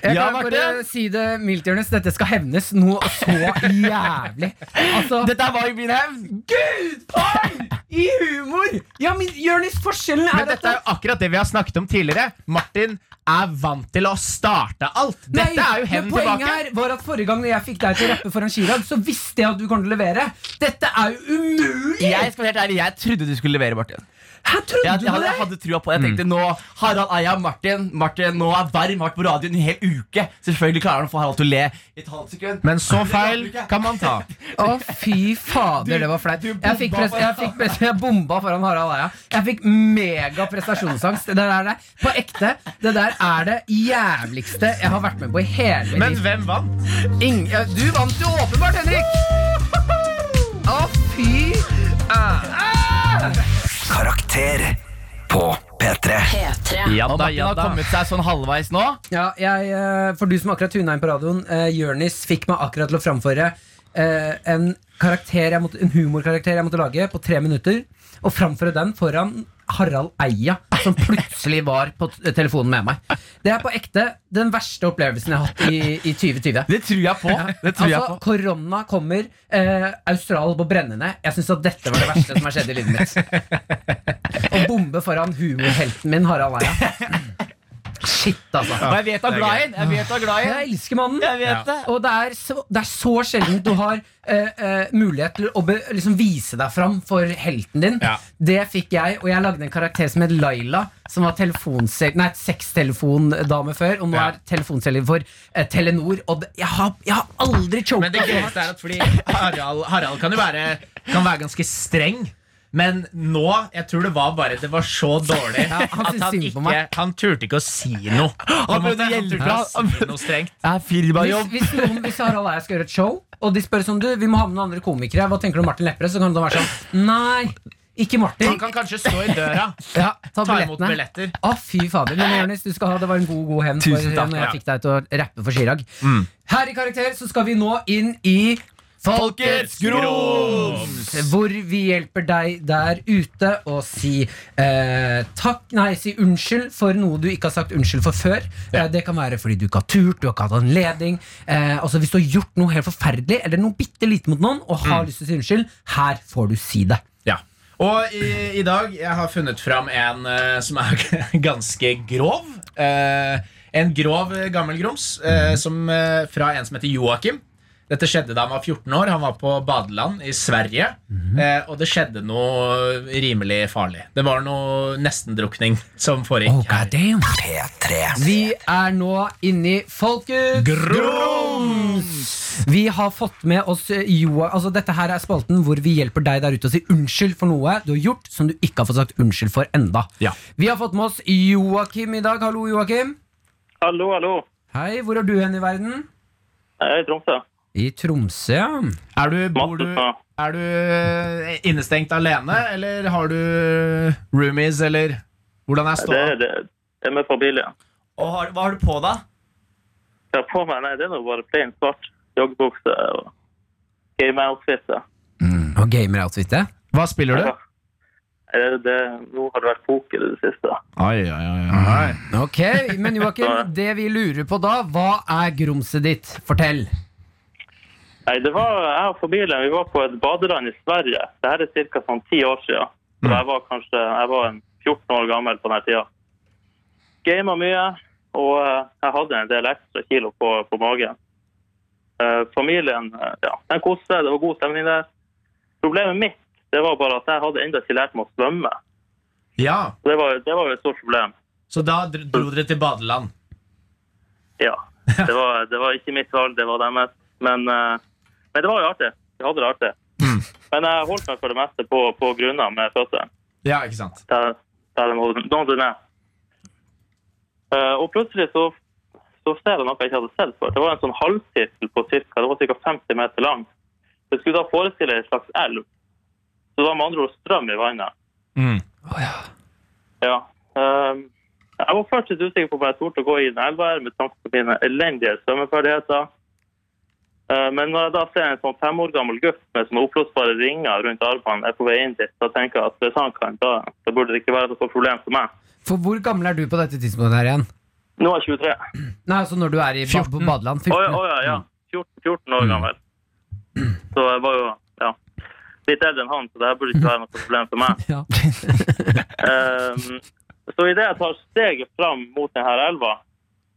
B: kan bare
F: Martin.
B: si det mildt, Jonis. Dette skal hevnes noe så jævlig. Altså,
F: Dette var jo min hevn.
B: i humor! Ja, men Jonis, forskjellen
C: Men
B: er at
C: dette er jo akkurat det vi har snakket om tidligere. Martin er vant til å starte alt. Dette
B: Nei,
C: er jo hevn
B: men poenget
C: tilbake.
B: her var at Forrige gang når jeg fikk deg til å rappe foran Chirag, så visste jeg at du kom til å levere. Dette er jo umulig!
F: Jeg skal være helt ærlig, jeg trodde du skulle levere, Martin.
B: Her trodde
F: Jeg, jeg,
B: du
F: hadde,
B: det?
F: jeg hadde trua på det. Jeg tenkte
C: Mm.
F: nå, Harald Eia, Martin Martin nå er varm, vært på radioen i en hel uke. Selvfølgelig klarer han å få Harald til å le i et halvt sekund.
C: Men så feil kan man ta.
B: Å, fy fader, det var flaut. Jeg fikk, pres jeg, fikk pres jeg bomba foran Harald Eia. Jeg fikk mega prestasjonsangst. Det der er det. På ekte. Det der er det jævligste jeg har vært med på i hele
C: Men
B: mitt liv.
C: hvem vant?
B: Ing- ja, Du vant jo åpenbart, Henrik! Å, fy Ah!
A: Karakter på P3.
E: P3.
C: Ja
F: Og Martin har kommet seg sånn halvveis nå.
B: Ja, jeg, eh, for du som akkurat tuna inn på radioen, uh, Jørnis fikk meg akkurat til å framføre eh, en, karakter jeg måtte, en humorkarakter jeg måtte lage på tre minutter, og framføre den foran Harald Eia, som plutselig var på t- telefonen med meg. Det er på ekte den verste opplevelsen jeg har hatt i, i 2020.
F: Det tror jeg på. Det tror jeg på.
B: Altså, Korona kommer, eh, Australia på brennende. Jeg syns at dette var det verste som har skjedd i livet mitt. Å bombe foran humorhelten min, Harald Eia. Shit, altså.
F: Og jeg vet du er glad i den. Jeg vet du er glad i den.
B: Jeg elsker mannen.
F: Jeg vet det.
B: Og det er så, det er så sjelden du har eh, eh, mulighet til å be, liksom vise deg fram for helten din.
C: Ja.
B: Det fikk jeg, og jeg lagde en karakter som het Laila, som var telefonsel- nei, sextelefondame før, og nå
C: Ja.
B: er telefonselger for eh, Telenor. Og det, jeg, har, jeg har aldri choka
C: Men det gøyeste er at fordi Harald, Harald kan jo være, kan være ganske streng. Men nå Jeg tror det var bare Det var så dårlig
B: Ja, han
C: at
B: syntes
C: han
B: synd på
C: ikke
B: meg.
C: Han turte ikke å si noe. På
F: prøvde
C: en
F: å
C: måte. Han
F: hjelpe.
C: turte ikke å si noe strengt.
F: Jeg er firmajobb.
B: Hvis, hvis, noen, hvis Harald Eia skal gjøre et show, og de spør sånn, du, vi må ha med noen andre komikere, hva tenker du om Martin Lepperød? Så kan det være sånn Nei, Ikke Martin.
C: Han kan kanskje stå i døra,
B: Ja, ta
C: ta imot
B: billettene.
C: billetter.
B: Å, fy fader. Men Jonis, du skal ha det var en god god hevn for
C: Tusen takk,
B: når
C: ja.
B: jeg fikk deg til å rappe for Chirag. Her i Karakter så skal vi nå inn i Folkets grums! Hvor vi hjelper deg der ute å si eh, takk Nei, si unnskyld for noe du ikke har sagt unnskyld for før. Eh, det kan være fordi du ikke har turt, du har ikke hatt anledning. Eh, altså Hvis du har gjort noe helt forferdelig eller noe bitte lite mot noen og har lyst til å si unnskyld, her får du si det.
C: Ja. Og i, i dag jeg har funnet fram en eh, som er ganske grov. Eh, en grov eh, gammel grums eh, som, eh, fra en som heter Joakim. Dette skjedde da han var 14 år. Han var på badeland i Sverige.
B: Mhm.
C: eh, og det skjedde noe rimelig farlig. Det var noe nestendrukning som
B: Oh,
C: foregikk. her.
B: God damn.
A: P3.
B: Vi er nå inni Folkets grums! Vi har fått med oss eh, Joa, altså Dette her er spalten hvor vi hjelper deg der ute å si unnskyld for noe du har gjort som du ikke har fått sagt unnskyld for enda.
C: Ja.
B: Vi har fått med oss Joakim i dag. Hallo, Joakim.
I: Hallo, hallo.
B: Hei, hvor er du hen i verden?
I: Jeg er i Tromsø.
B: I Tromsø, ja.
C: Er du, bor du,
I: Mattestad.
C: er du eh, innestengt alene, eller har du roomies, eller hvordan er
I: Det,
C: ståa?
I: det, det er med familie.
G: Og har, hva har du på da?
I: Jeg har på meg, nei, det er nå bare plain svart joggebukse og game-outfit. da.
B: Og gamer-outfitet.
C: Hva spiller du?
I: Eh, Det, nå har det vært poker i det siste.
C: Oi, oi, oi, oi.
B: Ok, Men Joakim, det vi lurer på da, hva er grumset ditt? Fortell.
I: Nei, det var jeg og familien, vi var på et badeland i Sverige. Dette er cirka sånn ti år siden. Så jeg var kanskje, jeg var en 14 år gammel på denne tida. Gamet mye, og eh, jeg hadde en del ekstra kilo på, på magen. Eh, familien, eh, ja, den koste seg, det var god stemning der. Problemet mitt, det var bare at jeg hadde enda ikke lært meg å svømme.
C: Ja,
I: Så Det var, det var jo et stort problem.
C: Så da dro dro dere til badeland.
I: Ja, det var, det var ikke mitt valg, det var deres. Men, eh, men det var jo artig. Vi hadde det artig. Men jeg holdt meg for det meste på, på grunna med føttene.
C: Ja, ikke sant?
I: Der, der de holdt- nådde ned. Eh, og plutselig så, så ser jeg noe jeg ikke hadde sett før. Det var en sånn halvsirkel på cirka, det var cirka 50 meter lang. Det skulle da forestille en slags elv. Så det var med andre ord strøm i vannet. Ja. ehm, jeg var først litt usikker på om jeg torde å gå i den elva her med tanke på mine elendige svømmeferdigheter. Eh, Men når jeg da ser en sånn fem år gammel gutt med sånne oppblåsbare ringer rundt armene er på vei inn dit, da tenker jeg at hvis han kan, da, da burde det ikke være noe problem for meg.
B: For hvor gammel er du på dette tidspunktet her igjen?
I: Nå er jeg 23.
B: Nei, altså når du er i ba på badeland.
I: Å
B: 14.
I: ja, å ja, ja. 14, 14 år gammel. Så jeg var jo ja, litt eldre enn han, så det her burde ikke være noe problem for meg.
B: Ja.
I: Um, så idet jeg tar steget fram mot denne elva,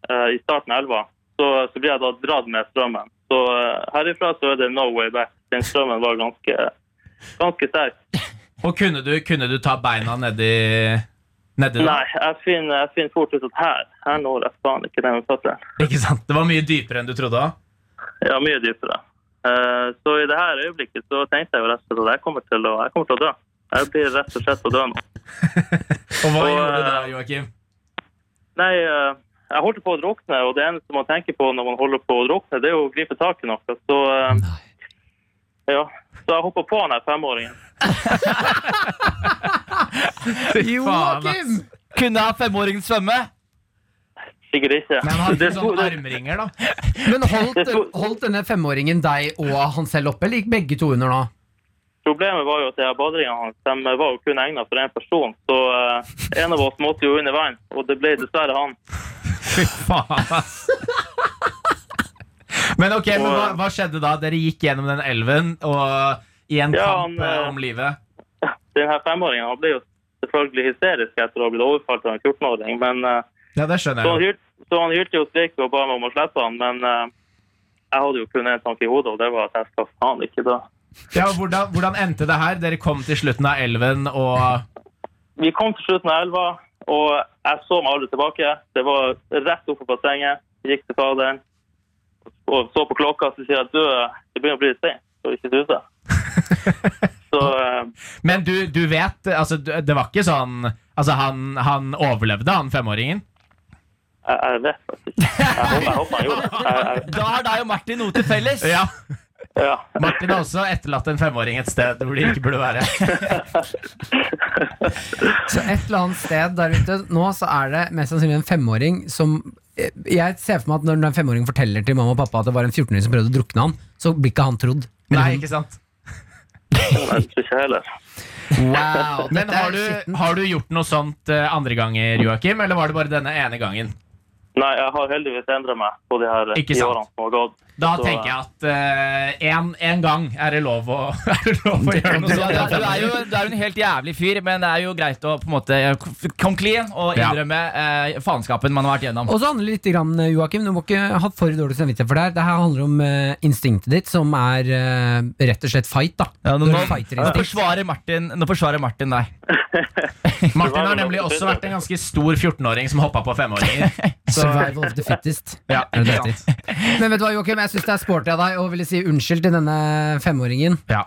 I: eh, i starten av elva, så, så blir jeg da dratt med strømmen. Så eh, herifra så er det no way back. Den strømmen var ganske, ganske sterk.
C: Og kunne du, kunne du ta beina nedi Nedi der?
I: Nei, jeg finner, jeg finner fort ut at her, her når jeg faen ikke det med føttene.
C: Ikke sant? Det var mye dypere enn du trodde òg.
I: Ja, mye dypere. Eh, så i det her øyeblikket så tenkte jeg jo rett og slett at jeg kommer til å, jeg kommer til å dø. Jeg blir rett og slett å dø nå.
C: Og hva
I: Og,
C: gjorde du da,
I: eh,
C: Joakim?
I: Nei, eh, jeg holdt på å drukne, og det eneste man tenker på når man holder på å drukne, det er jo å gripe tak i noe. Så, eh, ja. så jeg hoppa på han her femåringen.
B: Joakim!
D: Kunne ha femåringen svømme?
I: Sikkert ikke.
C: Nei, men han sånn
I: Det
C: hadde
I: sto-
C: sånne armringer, da.
B: Men holdt,
I: Jeg tror-
B: holdt denne femåringen deg og han selv oppe, eller gikk begge to under nå?
I: Problemet var jo at de her baderingene hans de var jo kun egnet for én person. Så eh, en av oss måtte jo under vann, og det ble dessverre han.
C: Fy faen, ass. Men ok, men hva, hva skjedde da? Dere gikk gjennom den elven og i en
I: Ja,
C: kamp
I: han, eh,
C: eh, om livet.
I: Den her femåringen han ble jo selvfølgelig hysterisk etter å ha blitt overfalt av en 14-åring, men eh,
C: Ja, det
I: så, han
C: skjønner jeg.
I: hyrt, så han hyrte jo strekk og ba meg om å slippe han, men eh, jeg hadde jo kun én tanke i hodet, og det var at jeg skal faen ikke dø.
C: Ja, hvordan, hvordan endte det her? Dere kom til slutten av elven og
I: Vi kom til slutten av elva, og jeg så meg aldri tilbake. Det var rett opp på bassenget, gikk til faderen, og så på klokka, så sier jeg du, det begynner å bli litt sent, så ikke du det. Så eh,
C: Men du, du vet, altså, du- det var ikke sånn Altså, han, han overlevde, han femåringen?
I: jeg, jeg vet faktisk ikke. Jeg håper, jeg håper han gjorde det. Jeg, jeg,
D: Da har deg og Martin noe til felles.
C: Ja.
J: Ja.
C: Martin har også etterlatt en femåring et sted hvor de ikke burde være.
B: Så et eller annet sted der ute nå så er det mest sannsynlig en femåring som eh, Jeg ser for meg at når den femåringen forteller til mamma og pappa at det var en 14-åring som prøvde å drukne han, så blir ikke han trodd.
C: Nei, ikke sant?
J: Nei, ikke jeg heller.
B: Wow,
C: Men
B: dette er
C: har du,
B: skittent.
C: har du gjort noe sånt eh, andre ganger, Joakim, eller var det bare denne ene gangen?
J: Nei, jeg har heldigvis endret meg på de her
C: Ikke
J: ti
C: sant.
J: årene som har gått.
C: Da
J: Så,
C: tenker jeg at én gang er det lov å, er det lov å gjøre noe
D: Du er,
C: sånt.
D: du, er jo, du er jo en helt jævlig fyr, men det er jo greit å på en måte come clean og
C: Ja.
D: innrømme eh, faenskapen man har vært gjennom.
B: Og så handler det litt, grann, eh, Joakim, du må ikke ha for dårlig samvittighet for det her. Det her handler om eh, instinktet ditt, som er eh, rett og slett fight, da.
D: Ja, nå,
B: Du
D: nå,
B: har et
D: nå,
B: fighterinstinkt.
D: forsvarer Martin, nå forsvarer Martin deg.
C: Martin har nemlig også vært en ganske stor 14-åring som hoppa på femåringer. Så
B: Survival of the fittest.
C: Ja,
B: Er det det heter? Men vet du hva, Joakim, jeg syns det er sporty av deg å ville si unnskyld til denne femåringen.
C: ja.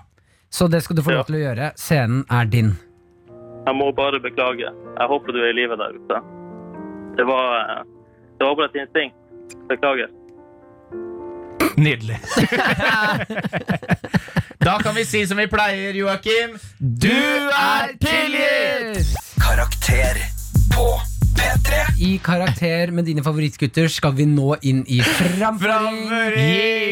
B: Så det skal du få
J: Ja.
B: lov til å gjøre. Scenen er din.
J: Jeg må bare beklage. Jeg håper du er i live der ute. Det var, eh, det var bare et instinkt. Beklager.
C: Nydelig. da kan vi si som vi pleier, Joakim. Du er tilgitt!
A: Karakter på P3.
B: I karakter med dine favorittgutter skal vi nå inn i framføring.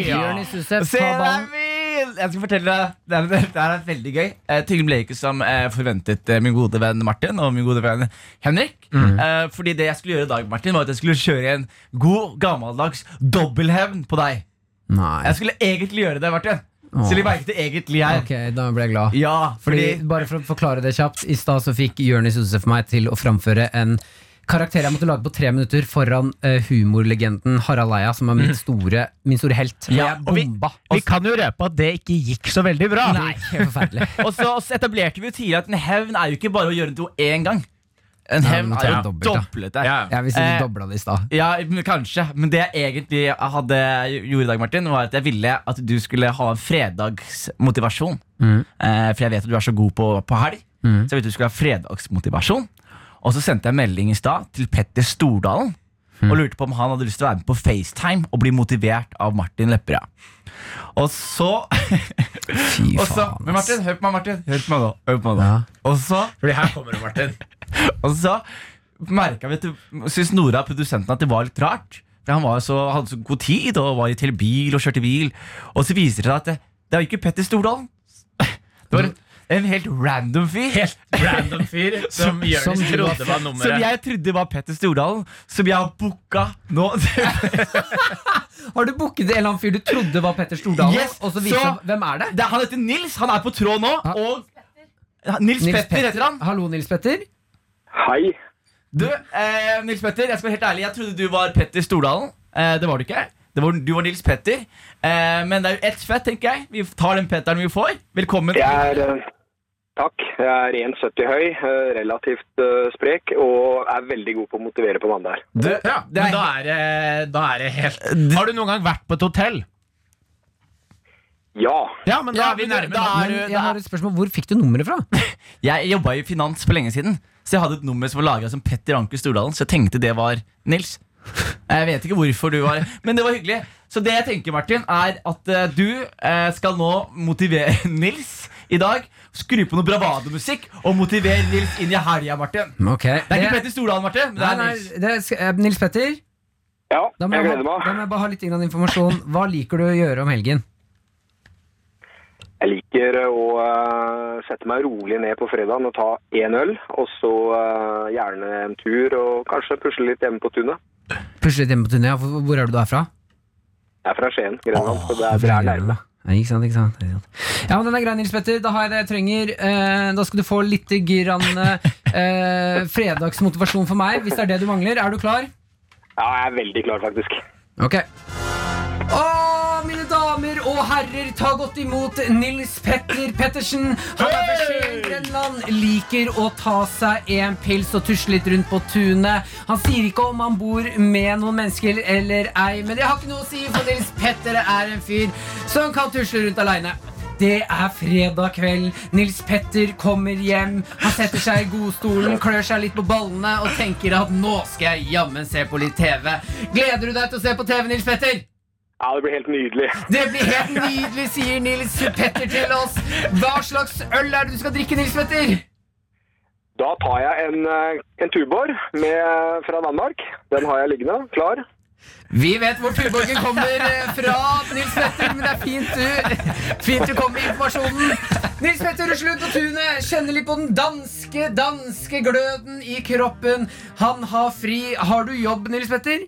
B: Jonis Josef,
D: Se
B: ta
D: deg
B: ballen.
D: vil! Jeg skal fortelle deg Det er, det er veldig gøy. Eh, ting ble ikke som eh, forventet eh, min gode venn Martin og min gode venn Henrik.
B: Mm.
D: Eh, fordi det jeg skulle gjøre i dag, Martin var at jeg skulle kjøre en god, gammeldags dobbelthevn på deg.
B: Nei.
D: Jeg skulle egentlig gjøre det, Martin.
B: Åh.
D: Så de merket det egentlig jeg.
B: Ok, da ble jeg glad.
D: Ja,
B: Fordi,
D: fordi
B: bare for å forklare det kjapt, I stad så fikk Jonis Josef meg til å framføre en karakter jeg måtte lage på tre minutter foran eh, humorlegenden Harald Eia, som er min store, min store helt. Og
D: Ja,
B: jeg
D: og vi-
B: bomba.
C: Vi kan jo røpe at det ikke gikk så veldig bra.
B: Nei, helt forferdelig.
D: og så og så etablerte vi jo tidligere at en hevn er jo ikke bare å gjøre noe én gang. En
B: Nei,
D: hevn
B: men
D: er jo
B: dobbelt, da.
D: doblet det.
C: Ja.
B: Jeg vil si
D: Eh,
B: du dobla det i stad.
D: Ja, men kanskje. Men det jeg egentlig hadde gjorde i dag, Martin, var at jeg ville at du skulle ha en fredagsmotivasjon.
B: Mm.
D: Eh, for jeg vet at du er så god på, på helg. Så jeg vet at du skulle ha fredagsmotivasjon. Og så sendte jeg melding i stad til Petter Stordalen.
B: Mm.
D: Og lurte på om han hadde lyst til å være med på FaceTime og bli motivert av Martin Lepperød. Og så,
B: Fy
D: og så
B: faen.
D: Men Martin, hør på meg, Martin. Hør på meg nå. Hør på meg nå.
B: Ja.
D: Og så
C: Fordi her kommer du, Martin.
D: og så merka vi at Syns Nora, produsenten, at det var litt rart. For han var jo så, hadde så god tid og var i telebil og kjørte bil. Og så viser det seg at det, det var jo ikke Petter Stordalen. Det var en helt random fyr.
C: Random fyr som Jonis
B: som du har
C: trodde var
D: som
C: nummeret.
D: jeg trodde var Petter Stordalen, som jeg har booka nå.
B: Har du booket en eller annen fyr du trodde var Petter Stordalen?
D: Yes,
B: og så viser
D: så-
B: han- Hvem er det?
D: Det, er- han heter Nils. Han er på tråd nå.
B: Ja.
D: Og Nils,
B: Nils
D: Petter heter han.
B: Hallo, Nils Petter.
J: Hei.
D: Du, eh, Nils Petter, jeg skal være helt ærlig Jeg trodde du var Petter Stordalen eh, Det var du ikke det var, Du var Nils Petter eh, Men det er jo ett fett, tenker jeg Vi tar den Petteren vi får Velkommen
I: Jeg er, eh, takk. Jeg er 1,70 høy, eh, relativt eh, sprek og er veldig god på å motivere på mandag.
D: du,
C: Ja,
D: det
C: men
D: er,
C: da er, det, da er det helt Har du noen gang vært på et hotell?
I: Ja.
C: Ja, men da
D: Ja,
C: er vi
D: men
C: nærme.
D: da
C: nå.
D: er
B: Men
D: du-
B: jeg
D: da-
B: har et spørsmål, Hvor fikk du nummeret fra?
D: Jeg jobbet i finans for lenge siden Så jeg hadde et nummer som var lagret som Petter Anker Stordalen Så jeg tenkte det var Nils Jeg vet ikke hvorfor du var Men det var hyggelig Så det jeg tenker, Martin, er at eh, du eh, skal nå motivere Nils i dag Skru på noe bravadomusikk Og motivere Nils inn i helgen, Martin
B: Mm, Ok,
D: Det er ikke Petter Stordalen, Martin. men Det
B: Nei,
D: er
B: nei,
D: Nils.
B: det er, eh, Nils Petter,
I: Ja,
B: da må jeg,
I: jeg gleder
B: ha, da
I: meg.
B: må jeg bare ha litt grann informasjon. Hva liker du å gjøre om helgen?
I: Jeg liker å eh, sette meg rolig ned på fredagen og ta én øl, og så eh, gjerne en tur og kanskje pusle litt hjemme på tunet.
B: Pusle litt hjemme på turné. ja, Hvor hvor er det du er fra?
I: Jeg er fra Skien, Grenland, så det er, det
B: Fra
I: er nærme.
B: Grønland. Ja, ikke sant, ikke sant, ikke sant. Ja, men den er grei, Nils Petter. Da har jeg det jeg trenger. Eh, Da skal du få litt grann eh, fredagsmotivasjon for meg, hvis det er det du mangler. Er du klar?
I: Ja, jeg er veldig klar, faktisk.
B: Ok Å, mine damer og herrer, ta godt imot Nils Petter Pettersen. Han er fra Skien, Grenland, liker å ta seg en pils og tusle litt rundt på tunet. Han sier ikke om han bor med noen mennesker eller ei, men det har ikke noe å si, for Nils Petter er en fyr som kan tusle rundt aleine. Det er fredag kveld. Nils Petter kommer hjem. Han setter seg i godstolen, klør seg litt på ballene og tenker at nå skal jeg jammen se på litt TV. Gleder du deg til å se på TV, Nils Petter?
I: Ja, det blir helt nydelig.
B: Det blir helt nydelig, sier Nils Petter til oss. Hva slags øl er det du skal drikke, Nils Petter?
I: Da tar jeg en, eh, en Tuborg med, eh, fra Danmark. Den har jeg liggende, klar.
B: Vi vet hvor Tuborgen kommer eh, fra, Nils Petter, men det er fint du, fint du kom med informasjonen. Nils Petter rusler ut på tunet, kjenner litt på den danske, danske gløden i kroppen. Han har fri. Har du jobb, Nils Petter?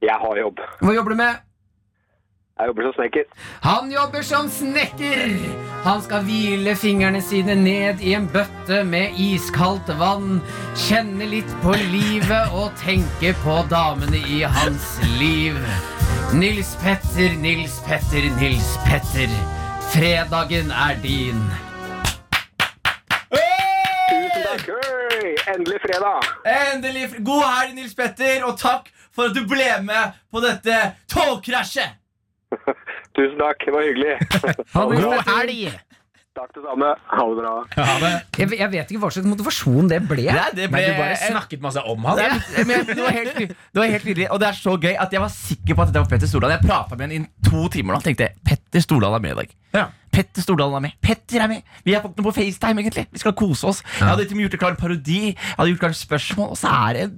I: Jeg har jobb.
B: Hva jobber du med?
I: Jeg jobber som snekker.
B: Han jobber som snekker. Han skal hvile fingrene sine ned i en bøtte med iskaldt vann, kjenne litt på livet og tenke på damene i hans liv. Nils Petter, Nils Petter, Nils Petter. Fredagen er din.
I: Tusen takk! Hey! Endelig fredag!
F: Endelig. fr- God helg, Nils Petter, og takk for at du ble med på dette togkrasjet.
I: Tusen takk, det var hyggelig.
B: helg!
I: Takk det samme. Ha det bra.
B: Jeg, jeg vet ikke hva slags motivasjon det ble.
D: Nei, det ble-
C: Men du bare snakket masse om han.
D: Ja, men det var helt, det var helt nydelig, og det er så gøy at jeg var sikker på at dette var Petter Stordalen. Jeg prata med ham i to timer nå. Tenkte jeg, Petter Stordalen er med i dag.
C: Ja.
D: Petter Stordalen er med. Petter er med! Vi er fått noe på FaceTime, egentlig. Vi skal kose oss. Jeg hadde til og med gjort det klar en parodi. Jeg hadde gjort klar et spørsmål, og så er det en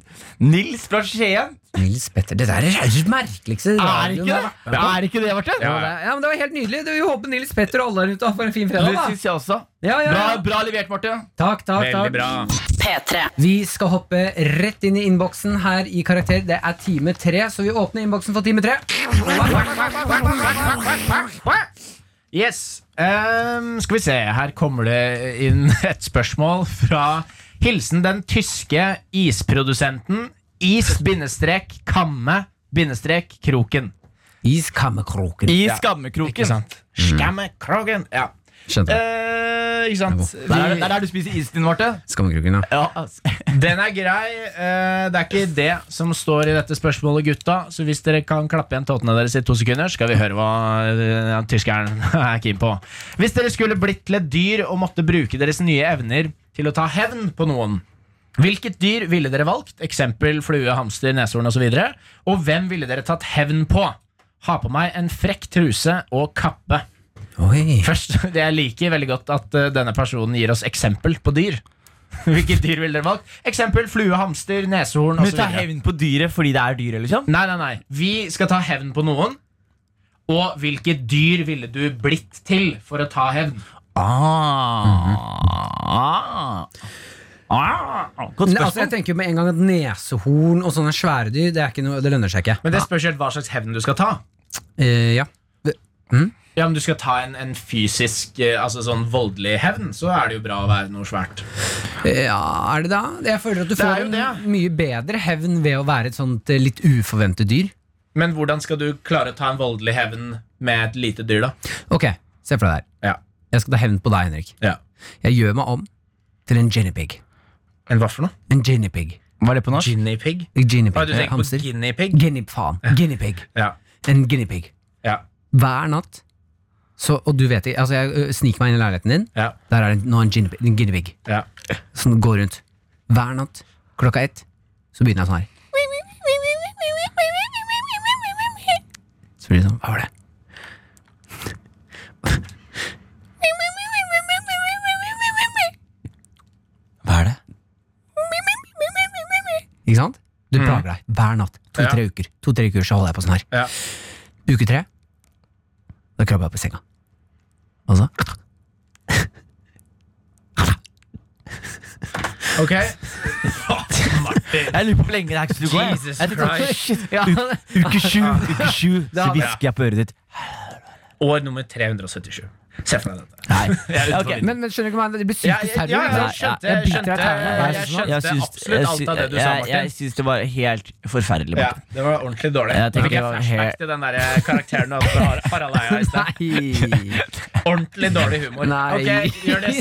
D: Nils fra Skien.
B: Nils Petter, det der er det merkeligste
D: Er det
B: radioen
D: ikke
B: har
D: det?
B: vært med på.
D: Er det ikke det, Martin?
B: Ja, det- ja, men Det var helt nydelig. Du, Vi håper Nils Petter og alle der ute får en fin fredag.
D: Det
B: da
D: syns jeg også.
B: Ja, ja,
D: Bra,
B: ja.
D: bra levert, Martin.
B: Takk, takk, takk.
C: Veldig bra.
E: P3.
B: Vi skal hoppe rett inn i innboksen her i Karakter. Det er time tre, så vi åpner innboksen for time tre.
C: Yes. Ehm, skal vi se. Her kommer det inn et spørsmål fra Hilsen den tyske isprodusenten is-kamme-kroken.
B: Iskammekroken.
D: I
C: Ikke
D: skammekroken.
C: sant? Mm. Skamme-kroken. Ja.
H: Skjønte.
C: Eh, ikke sant?
D: Der er, der
C: Vi,
D: er du spiser isen din, Marte.
H: Skammekroken, ja.
D: Ja, altså.
C: den er grei. Eh, det er ikke det som står i dette spørsmålet, gutta. Så hvis dere kan klappe igjen tåtene deres i to sekunder, skal vi høre hva eh, tyskeren er keen på. Hvis dere skulle blitt til et dyr og måtte bruke deres nye evner til å ta hevn på noen, hvilket dyr ville dere valgt? Eksempel flue, hamster, neshorn osv. Og, så og hvem ville dere tatt hevn på? Ha på meg en frekk truse og kappe.
H: Oi.
C: Først, det Jeg liker veldig godt at eh, denne personen gir oss eksempel på dyr. Hvilket dyr ville dere valgt? Eksempel flue, hamster, neshorn
D: Men
C: osv.
D: ta
C: Nei,
D: hevn på dyret fordi det er dyr, liksom?
C: nei, nei. Vi skal ta hevn på noen. Og hvilket dyr ville du blitt til for å ta hevn?
D: Ah. Ah. Godt
B: Ne, altså, jeg
D: spørsmål.
B: tenker jo med en gang at Nesehorn og sånne svære dyr, det, er ikke noe, det lønner seg ikke.
C: Men det spørs helt hva slags hevn du skal ta.
B: Eh, ja.
C: Ja, Om du skal ta en, en fysisk, eh, altså sånn voldelig hevn, så er det jo bra å være noe svært.
B: Eh, ja, er det da? Jeg føler at du
C: Det er
B: får
C: jo
B: en
C: det.
B: mye bedre hevn ved å være et sånt eh, litt uforventet dyr.
C: Men hvordan skal du klare å ta en voldelig hevn med et lite dyr, da?
B: Ok, se for deg der.
C: Ja.
B: Jeg skal ta hevn på deg, Henrik.
C: Ja.
B: Jeg gjør meg om til en guinea pig.
C: En hva for noe?
B: En guinea pig.
D: Hva er det på norsk?
C: Guinea pig?
B: Guinea pig.
C: Ah, du
B: Eh,
C: tenker
B: Hamster.
C: på guinea pig?
B: Guinea, faen. Guinea pig.
C: Ja.
B: En guinea pig.
C: Ja.
B: Hver natt så, Og du vet ikke, altså jeg ø, sniker meg inn i leiligheten din
C: Ja.
B: Der er det nå en guinea pig- en guinea pig
C: Ja.
B: Som går rundt Hver natt, klokka ett Så begynner jeg sånn her Så blir det sånn, hva var det? Hva er det? Ikke sant? Du
C: Mm.
B: plager deg hver natt To-tre uker To-tre uker så holder jeg på sånn her
C: Ja.
B: Uke tre Da krabber jeg opp i senga Og så
C: Ok.
D: Jeg lurer på hvor lenge det er til du går. jeg.
C: Jesus
D: Jeg tenkte,
C: Christ.
D: ja, uke sju, uke sju, så hvisker jeg på øret ditt.
C: År nummer 377. Se for deg dette.
D: Nei,
C: Jeg er
D: ok.
C: utenfor.
B: Men, men skjønner du ikke meg? Det blir
C: Ja,
B: psykisk
C: ja,
B: terror.
C: ja,
B: ikke
C: jeg
B: sant?
C: skjønte,
B: jeg
C: jeg
B: biter
C: skjønte,
B: deg i tærne.
C: jeg skjønte
D: Jeg syns-
C: absolutt alt av det du sa,
D: jeg- Jeg, jeg
C: Martin.
D: syns det var helt forferdelig.
C: Ja,
D: Martin.
C: det var ordentlig dårlig.
D: Jeg
C: Nå
D: tenker
C: fikk jeg
D: det var
C: flashback
D: helt-
C: til den der eh, karakteren du hadde fra Har- Harald Eia i sted. Ordentlig dårlig humor.
B: Nei.
C: Ok, gjør det.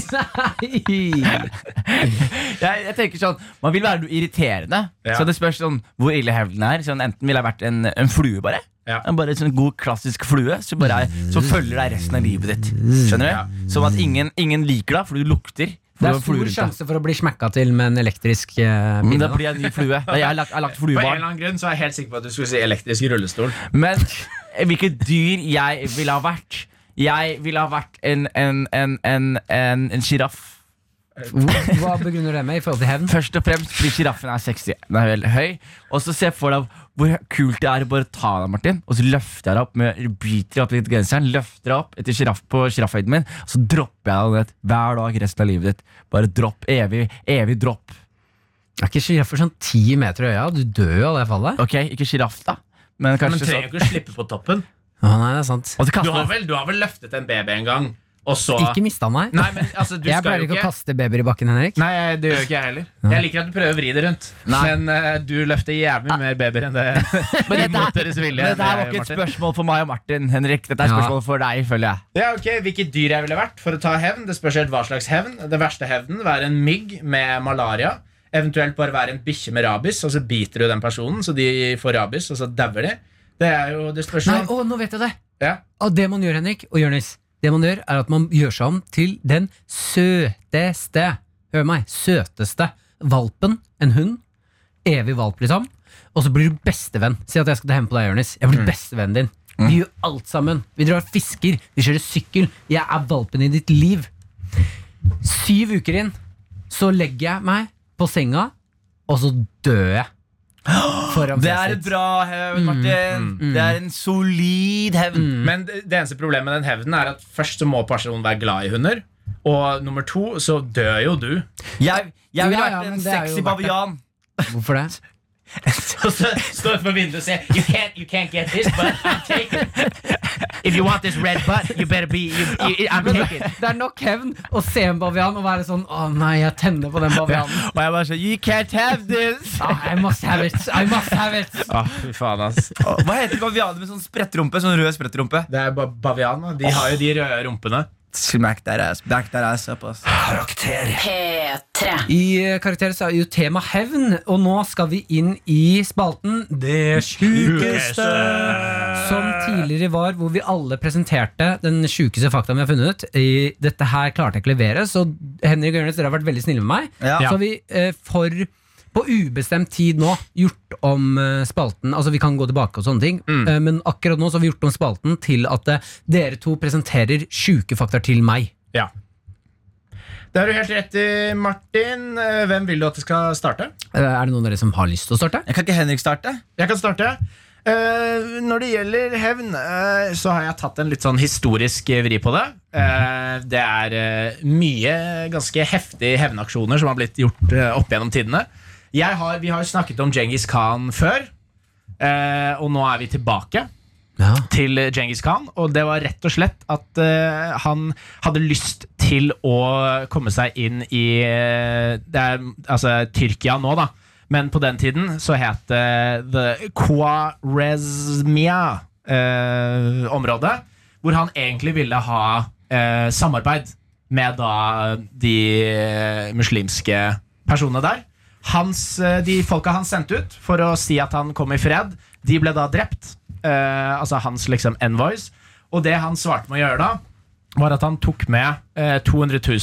B: Nei.
D: jeg, jeg tenker sånn Man vil være noe irriterende.
C: Ja.
D: Så det spørs sånn, hvor ille hevnen er. Sånn, enten ville jeg vært en, en flue, bare.
C: Ja.
D: En bare sånn god, klassisk flue som bare er, som følger deg resten av livet ditt. Skjønner du? Som at ingen, ingen liker deg, for du lukter.
B: Det er
D: Hvordan fluer
B: stor
D: rundt, da?
B: sjanse for å bli smekka til med en elektrisk eh,
D: Men
B: pinne.
D: det
B: da.
D: blir en ny flue. Nei, Jeg har lagt, jeg har lagt
C: På en
D: fluebarn.
C: eller annen grunn så er jeg helt sikker på at du skulle si elektrisk rullestol.
D: Men hvilket dyr jeg ville ha vært? Jeg ville ha vært en en- en- en- en- en sjiraff.
B: Hvor- Hva begrunner det med i forhold til hevn?
D: Først og fremst fordi sjiraffen er sexy. Den er veldig høy. Og så se for deg hvor kult det er å bare ta deg, Martin. Og så løfter jeg deg opp med biter deg opp litt i genseren, løfter deg opp etter giraff på sjiraffhøyden min, og så dropper jeg deg ned hver dag resten av livet ditt. Bare dropp. Evig, evig dropp.
B: Er ikke sjiraffer sånn ti meter i øya? Du dør jo av det fallet.
D: Ok, ikke sjiraff, da. Men
C: Men
D: kanskje
C: trenger jo
D: sånn.
C: ikke å slippe på toppen.
B: Å, nei, det er sant.
D: Og
C: Du
D: så kaster
C: har
D: jeg
C: vel, du har vel løftet en baby en gang, og så
B: Ikke mista meg.
C: Nei, men altså, du
B: jeg
C: skal
B: pleier
C: jo
B: ikke å
C: ikke
B: kaste babyer i bakken, Henrik.
C: Nei, det gjør ikke jeg heller. Jeg liker at du prøver å vri det rundt, men eh, du løfter jævlig mer babyer enn det
D: Men dette
C: mot
D: her-
C: deres vilje.
D: men dette her var
C: enn
D: ikke
C: det, Martin.
D: et spørsmål for meg og Martin. Henrik Dette er et
B: Ja.
D: spørsmål for deg, føler jeg.
C: Ja, ok, Hvilket dyr jeg ville vært for å ta hevn. Det spørs helt hva slags hevn. Det verste hevnen være en mygg med malaria. Eventuelt bare være en bikkje med rabies, og så biter du den personen, så de får rabies, og så dauer de. Det er jo det spørs jo-
B: Nei, å, nå vet jeg det!
C: ja.
B: Og det man gjør, Henrik og Jonis, det man gjør, er at man gjør seg om til den søteste Hør meg, søteste valpen. En hund. Evig valp, liksom. Og så blir du bestevenn. Si at jeg skal ta hevn på deg, Jonis. Jeg
D: Mm.
B: blir bestevennen din. Vi gjør alt sammen. Vi drar og fisker. Vi kjører sykkel. Jeg er valpen i ditt liv. Syv uker inn, så legger jeg meg på senga, og så dør jeg. Foran
D: Det er
B: fjeset
D: et
B: ditt.
D: bra hevn, Martin. Det er en solid hevn.
C: Men det det eneste problemet med den hevnen er at først så må personen være glad i hunder. Og nummer to, så dør jo du.
D: Jeg, jeg ville
B: Ja, ja,
D: vært
B: men
D: en
B: det er jo verdt
D: sexy
B: det.
D: bavian.
B: Hvorfor det?
C: Og så står du på vinduet og sier You can't, you can't get this, but I'm taken. If you want this red butt, you better be you, you, I'm taken.
B: Det er nok hevn å se en bavian og være sånn Å nei, jeg tenner på den bavianen. «Ah,
D: Og jeg bare sånn You can't have this!
B: I must have it. I must have it.
C: Ah, fy faen, ass.
D: Hva heter bavianer med sånn sprettrumpe? Sånn rød sprettrumpe?
C: Det er bare bavian, da. De har jo de røde rumpene.
F: Smack that ass, back that ass up, ass.
A: Karakter.
E: P3.
B: I eh, Karakter så er jo tema hevn, og nå skal vi inn i spalten Det sjukeste. Som tidligere var, hvor vi alle presenterte den sjukeste faktaen vi har funnet ut. I, dette her klarte jeg ikke å levere, så Henrik og Jonis, dere har vært veldig snille med meg.
F: Ja.
B: Så har vi eh, for på ubestemt tid nå gjort om eh, spalten Altså Vi kan gå tilbake og sånne ting, eh, men akkurat nå så har vi gjort om spalten til at eh, dere to presenterer sjuke fakta til meg.
C: Ja. Det har du helt rett i, Martin. Eh, Hvem vil du at det skal starte?
B: Eh, Er det noen av dere som har lyst til å starte?
F: Jeg kan ikke Henrik starte?
C: Jeg kan starte. Eh, når det gjelder hevn, eh, så har jeg tatt en litt sånn historisk eh, vri på det. Eh, det er eh, mye ganske heftige hevnaksjoner som har blitt gjort eh, opp gjennom tidene. Jeg har, vi har jo snakket om Djengis Khan før, eh, og nå er vi tilbake
B: Ja.
C: til Djengis Khan. Og det var rett og slett at eh, han hadde lyst til å komme seg inn i eh, det er, altså, Tyrkia nå, da. Men på den tiden så het det The Khwarezmia-området. eh, hvor han egentlig ville ha eh, samarbeid med da de muslimske personene der. Hans, eh, de folka han sendte ut for å si at han kom i fred, de ble da drept. Eh, altså hans liksom envoys. Og det han svarte med å gjøre da, var at han tok med eh, 200 000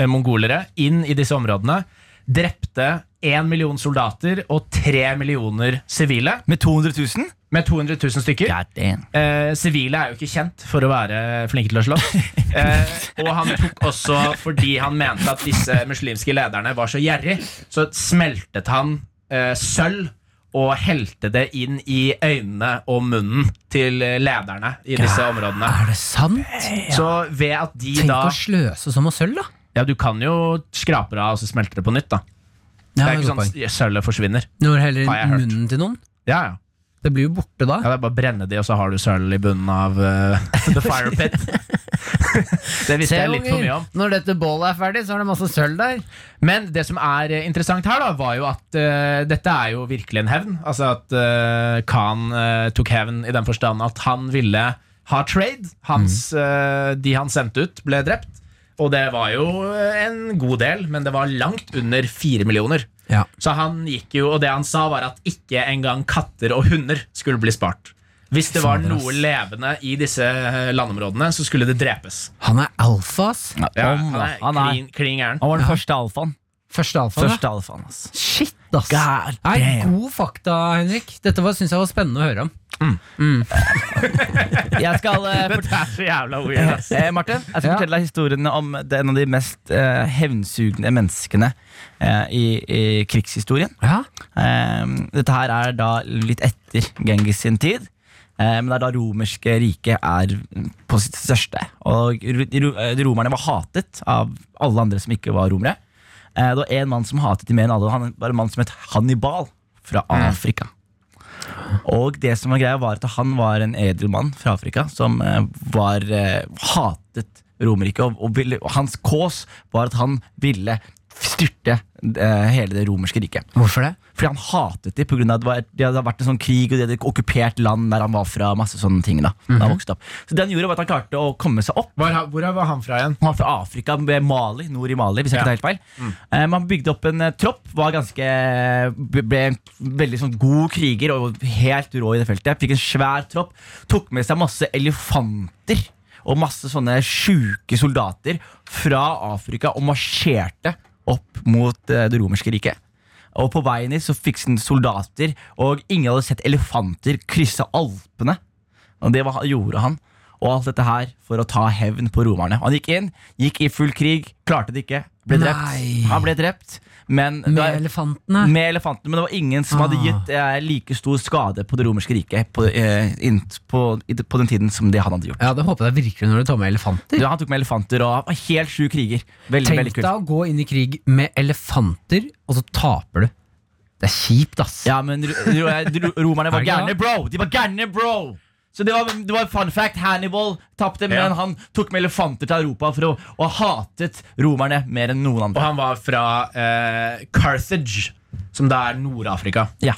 C: eh, mongolere inn i disse områdene. Drepte 1 million soldater og 3 millioner sivile.
D: Med 200 000?
C: Med 200 000 stykker. Eh, Sivile er jo ikke kjent for å være flinke til å slåss. Eh, og han tok også, fordi han mente at disse muslimske lederne var så gjerrig, så smeltet han eh, sølv og helte det inn i øynene og munnen til eh, lederne i disse områdene.
B: Er det sant?
C: Så ved at de
B: Tenk
C: da
B: å sløse som av sølv, da.
C: Ja, du kan jo skrape det av og så smelte det på nytt, da. Det
B: det
C: er ikke
B: er
C: sånn
B: godt poeng.
C: at sølvet forsvinner.
B: Når du
C: Har jeg hørt.
B: heller munnen til noen.
C: Ja, ja.
B: Det blir jo borte da.
C: Ja, det er bare å brenne de, og så har du sølv i bunnen av eh, the fire pit. det visste jeg litt for mye om.
B: når dette bålet er ferdig, så er det masse sølv der.
C: Men det som er eh, interessant her, da, var jo at eh, dette er jo virkelig en hevn. Altså at eh, Khan eh, tok hevn i den forstand at han ville ha trade. Hans,
B: Mm.
C: eh, de han sendte ut, ble drept. Og det var jo eh, en god del, men det var langt under fire millioner.
B: Ja.
C: Så han gikk jo, og det han sa var at ikke engang katter og hunder skulle bli spart. Hvis det var
B: Fader, ass.
C: noe levende i disse eh, landområdene, så skulle det drepes.
B: Han er alfa, ass.
C: Ja,
D: Om,
C: han
D: da.
C: er
D: han, er,
C: klin- klin gæren.
D: han var den første alfaen. Sånn,
B: Første alfa, da.
D: Første alfaen, ass.
B: Shit, ass. Nei, god fakta, Henrik. Dette var- synes jeg var spennende å høre om.
D: Jeg skal eh, fort-
C: Det er så jævla weird, ass.
D: Eh, Martin, jeg skal
B: Ja.
D: fortelle deg historien om det- en av de mest eh, hevnsugne menneskene eh, i, i krigshistorien.
B: Ja.
D: Eh, dette her er da litt etter Genghis sin tid. Eh, men det er da romerske riket er på sitt største. Og ro- ro- eh, romerne var hatet av alle andre som ikke var romere. Eh, det var en mann som hatet de mer enn alle. og Han var en mann som het Hannibal fra Afrika. Og det som var greia var at han var en edel mann fra Afrika som eh, var eh, hatet Romerriket. Og, og, ville- og hans kås var at han ville styrte eh, hele det romerske riket.
B: Hvorfor det?
D: Fordi han hatet de pga. at det var- det hadde vært en sånn krig, og de hadde okkupert land der han var fra. masse sånne ting da, da han vokste opp. Så det han gjorde, var at han klarte å komme seg opp.
C: Hvor, hvor var han fra igjen?
D: Han var fra Afrika, ved Mali, nord i Mali, hvis jeg ikke tar helt feil. Eh, man bygde opp en eh, tropp, var ganske, ble en veldig sånn god kriger og helt rå i det feltet. Fikk en svær tropp, tok med seg masse elefanter og masse sånne sjuke soldater fra Afrika og marsjerte opp mot eh, det romerske riket. Og på veien hit så fikk han soldater, og ingen hadde sett elefanter krysse Alpene. Og det var, gjorde han. Og alt dette her for å ta hevn på romerne. Han gikk inn, gikk i full krig, klarte det ikke. Ble
B: Nei.
D: drept. Han ble drept, men det
B: Med
D: var-
B: elefantene?
D: med elefantene, men det var ingen som hadde
B: Ah.
D: gitt eh, like stor skade på det romerske riket på, eh, inn- på, i- på den tiden som det han hadde gjort.
B: Ja, det håper jeg virkelig når du tar med elefanter.
D: Ja, han tok med elefanter og var helt sju kriger. Veldig,
B: Tenk
D: veldig
B: deg
D: kult.
B: å gå inn i krig med elefanter, og så taper du. Det er kjipt, ass.
D: Ja, men ro, ro, ro, romerne
B: Er
D: var
B: det ikke
D: gærne,
B: det?
D: bro! De var gærne, bro! Så det var, det var fun fact. Hannibal tapte, men
C: Ja.
D: han tok med elefanter til Europa for å, og hatet romerne mer enn noen
C: Og
D: andre.
C: han var fra eh, Carthage, som da er Nord-Afrika.
D: Ja.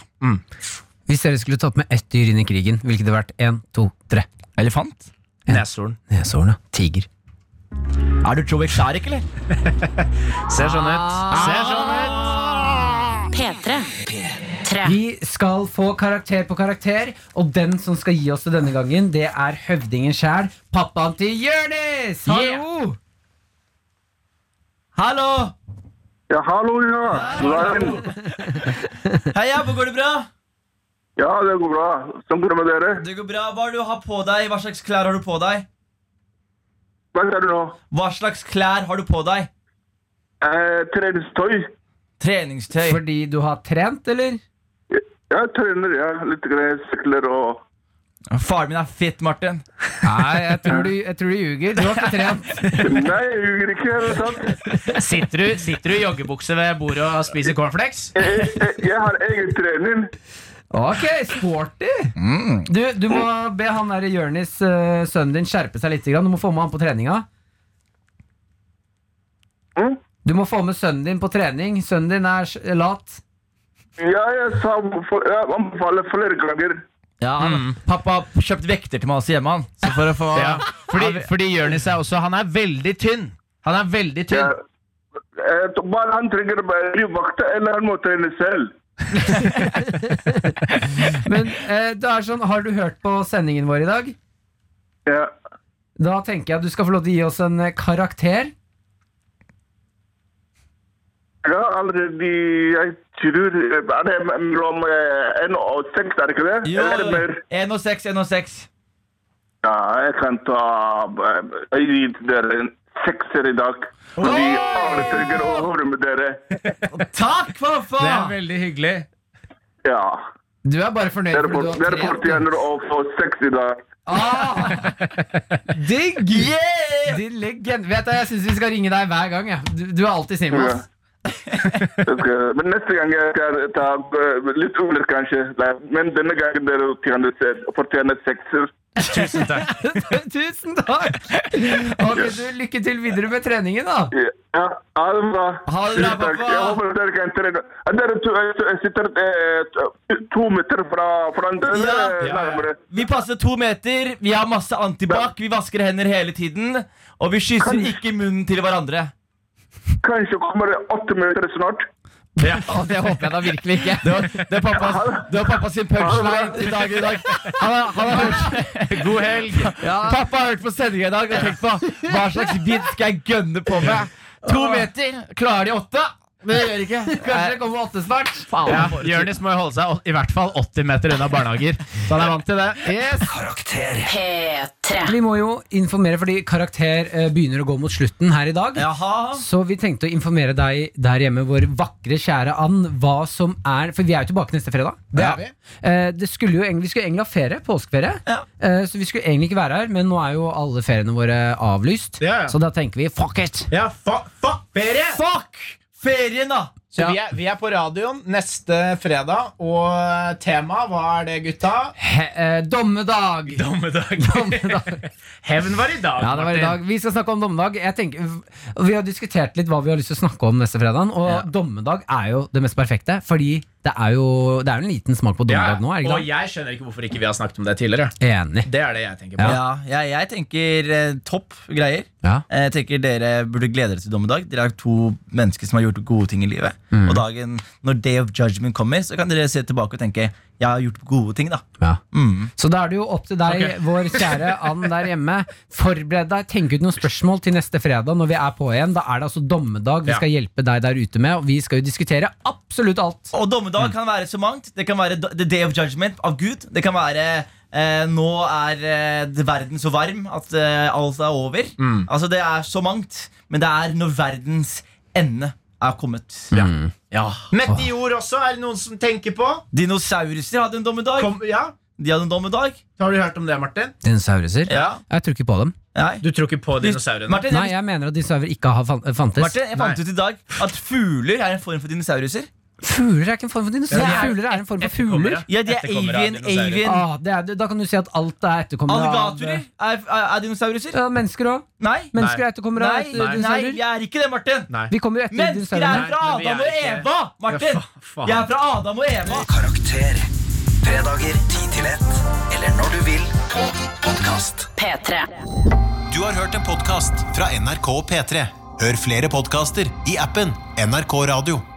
B: Hvis dere skulle tatt med ett dyr inn i krigen, hvilket det vært? Én, to, tre.
D: Elefant?
C: Neshorn.
B: Neshorn, ja. Tiger.
D: Er du Joe Exaric, eller?
C: Ser sånn ut. Ser sånn ut.
E: P3. P3.
B: Vi skal få karakter på karakter, og den som skal gi oss det denne gangen, det er høvdingen sjæl, pappaen til Jørnis! Hallo!
D: Hallo!
I: Ja, hallo, ja.
D: Hei, Abbo, går det bra?
I: Ja, det går bra. Sånn går det med dere.
D: Det går bra. Hva er det du har på deg? Hva slags klær har du på deg?
I: Hva er det nå?
D: Hva slags klær har du på deg?
I: Eh, treningstøy.
D: Treningstøy.
B: Fordi du har trent, eller?
I: Jeg trener, ja. Litt greier, sykler og
D: Faren min er fit, Martin.
B: Nei, jeg tror du, jeg tror du ljuger. Du har ikke trent.
I: Nei, jeg ljuger ikke. Er det sant?
C: Sitter du, sitter du i joggebukse ved bordet og spiser cornflakes?
I: Jeg, jeg, jeg, jeg har egen trening.
B: Ok, sporty! Du, du må be han der Jørnis, eh, sønnen din, skjerpe seg litt. grann. Du må få med han på treninga.
I: Mm?
B: Du må få med sønnen din på trening. Sønnen din er s- lat.
I: Ja, jeg sa for, jeg anbefaler flere ganger.
D: Ja, han, Pappa har kjøpt vekter til meg også hjemme. Han. Så for å få
C: Mm. Ja. Fordi, fordi Jonis er også Han er veldig tynn. Han er veldig
I: Ja.
C: tynn.
I: Eh, Bare han trenger bare livvakter, eller han må trene selv.
B: Men eh, det er sånn, har du hørt på sendingen vår i dag?
I: Ja.
B: Da tenker jeg at du skal få lov til å gi oss en eh, karakter.
I: Ja, allerede Jeg tror Er det mellom eh, en og seks, er det ikke det?
D: Jo,
I: Eller er det mer?
D: 1 og 6, 1 og 6.
I: Ja, jeg kan ta eh, Jeg gir dere en sekser i dag. Fordi alle trenger å høre med dere.
D: Takk, pappa!
C: Det er veldig hyggelig.
I: Ja.
B: Du er bare fornøyd
I: Dere
B: fordi
I: for-
B: du
I: dere
B: har trent.
I: fortjener å få seks i dag.
B: Ah, digg!
D: Yeah!
B: Din legend. Vet du, jeg syns vi skal ringe deg hver gang. Ja. Du, du er alltid snill med
I: Ja.
B: oss.
I: Jeg skal- Men neste gang jeg skal ta eh, litt under, kanskje. Nei, Men denne gangen dere fortjener se- fortjener sekser.
B: Tusen takk! Ok, du, Lykke til videre med treningen, da.
I: Ja, ha det bra.
D: Ha det bra, pappa.
I: Jeg håper dere kan trene. Er Dere to, jeg sitter eh, to meter fra hverandre.
D: Ja.
I: eller
C: Ja, ja.
I: nærmere?
D: Vi passer to meter, vi har masse antibac, vi vasker hender hele tiden. Og vi kysser ikke munnen til hverandre.
I: Kanskje kommer det åtte meter snart.
B: Ja. Og det håper jeg da virkelig ikke. Det var, det var pappas, det var pappas sin punchline til dagen i dag. Han har, han har hørt God helg! Pappa har hørt på sendinga i dag og tenkt på hva slags bit skal jeg gønne på med. To meter, klarer de åtte? Men det gjør de ikke. Kanskje det kommer åtte snart. Faen,
C: Ja,
B: for-
C: Jonis må jo holde seg i hvert fall 80 meter unna barnehager. Så han er vant til det.
E: P3.
B: Vi må jo informere, fordi Karakter eh, begynner å gå mot slutten her i dag.
D: Jaha.
B: Så vi tenkte å informere deg der hjemme, vår vakre, kjære Ann, hva som er For vi er jo tilbake neste fredag.
C: Det er vi.
B: Eh, det skulle jo egentlig, vi skulle egentlig ha ferie, påskeferie, Eh, så vi skulle egentlig ikke være her. Men nå er jo alle feriene våre avlyst,
C: Ja, ja.
B: så da tenker vi fuck it!
C: Ja, fa fa ferie!
B: Fuck!
D: Ferien, da!
C: Så
B: Ja.
C: vi, er, vi er på radioen neste fredag, og tema, hva er det, gutta?
B: He, eh, dommedag!
C: Dommedag.
B: Dommedag.
C: Hevn var i dag,
B: Ja, det var i dag. Vi skal snakke om dommedag. Jeg tenker, vi har diskutert litt hva vi har lyst til å snakke om neste fredag, og dommedag er jo det mest perfekte. Fordi det er jo, det er jo en liten smak på
C: Ja,
B: dommedag nå, er det
C: og
B: ikke sant?
C: jeg skjønner ikke hvorfor ikke vi har snakket om det tidligere.
B: Enig.
C: Det er det jeg tenker på.
D: Ja, jeg, jeg tenker eh, topp greier.
B: Ja.
D: Eh, Jeg tenker Dere burde glede dere til dommedag. Dere er to mennesker som har gjort gode ting i livet. Og dagen når Day of Judgment kommer, så kan dere se tilbake og tenke Jeg har gjort gode ting. da
B: Ja.
D: mm.
B: Så da er det jo opp til deg, vår kjære Ann der hjemme. Forbered deg, tenk ut noen spørsmål til neste fredag når vi er på igjen. Da er det altså dommedag vi
C: Ja.
B: skal hjelpe deg der ute med, og vi skal jo diskutere absolutt alt.
D: Og dommedag kan være så mangt. Det kan være do- The Day of Judgment av Gud. Det kan være eh, Nå er eh, det verden så varm at eh, alt er over. Altså Det er så mangt. Men det er når verdens ende er kommet.
C: Ja.
B: Mm.
D: Ja.
C: Meteor også, er det noen som tenker på?
D: Dinosauruser hadde en dommedag.
C: Kom, ja.
D: De hadde en dommedag.
C: Har du hørt om det, Martin?
B: Dinosauruser?
D: Ja.
B: Jeg tror ikke på dem.
D: Nei.
C: Du tror ikke på dinosaurene?
D: Martin,
B: Nei,
D: jeg,
B: jeg mener at dinosaurer ikke har fan- fantes.
D: Martin, jeg fant
C: Nei.
D: ut i dag at fugler er en form for dinosauruser.
B: Fugler er ikke en form for dinosaurer.
C: Ja, de er
B: Fugler er en form for
C: Etterkommere.
B: fugler.
D: Ja, de er
C: Etterkommere av
D: avian,
C: dinosaurer.
D: avian.
B: Ah, det er, da kan du si at alt er etterkommere av
D: Alligatorer er, er, er dinosauruser.
B: ja, Mennesker òg.
D: Nei. Nei.
B: Mennesker er etterkommere av
D: Nei. Nei,
B: dinosaurer.
D: vi er ikke det, Martin.
C: Nei.
B: Vi kommer jo etter
D: Mennesker er
B: dinosaurene.
D: fra
C: Nei, men
D: Adam
C: vi er
D: og
C: ikke-
D: Eva, Martin.
C: Ja, fa- faen.
D: Jeg er fra Adam og Eva.
A: Karakter. Fredager 10 til 1. Eller når du vil på podkast.
E: P3.
K: Du har hørt en podcast fra NRK P3. Hør flere podcaster i appen NRK Radio.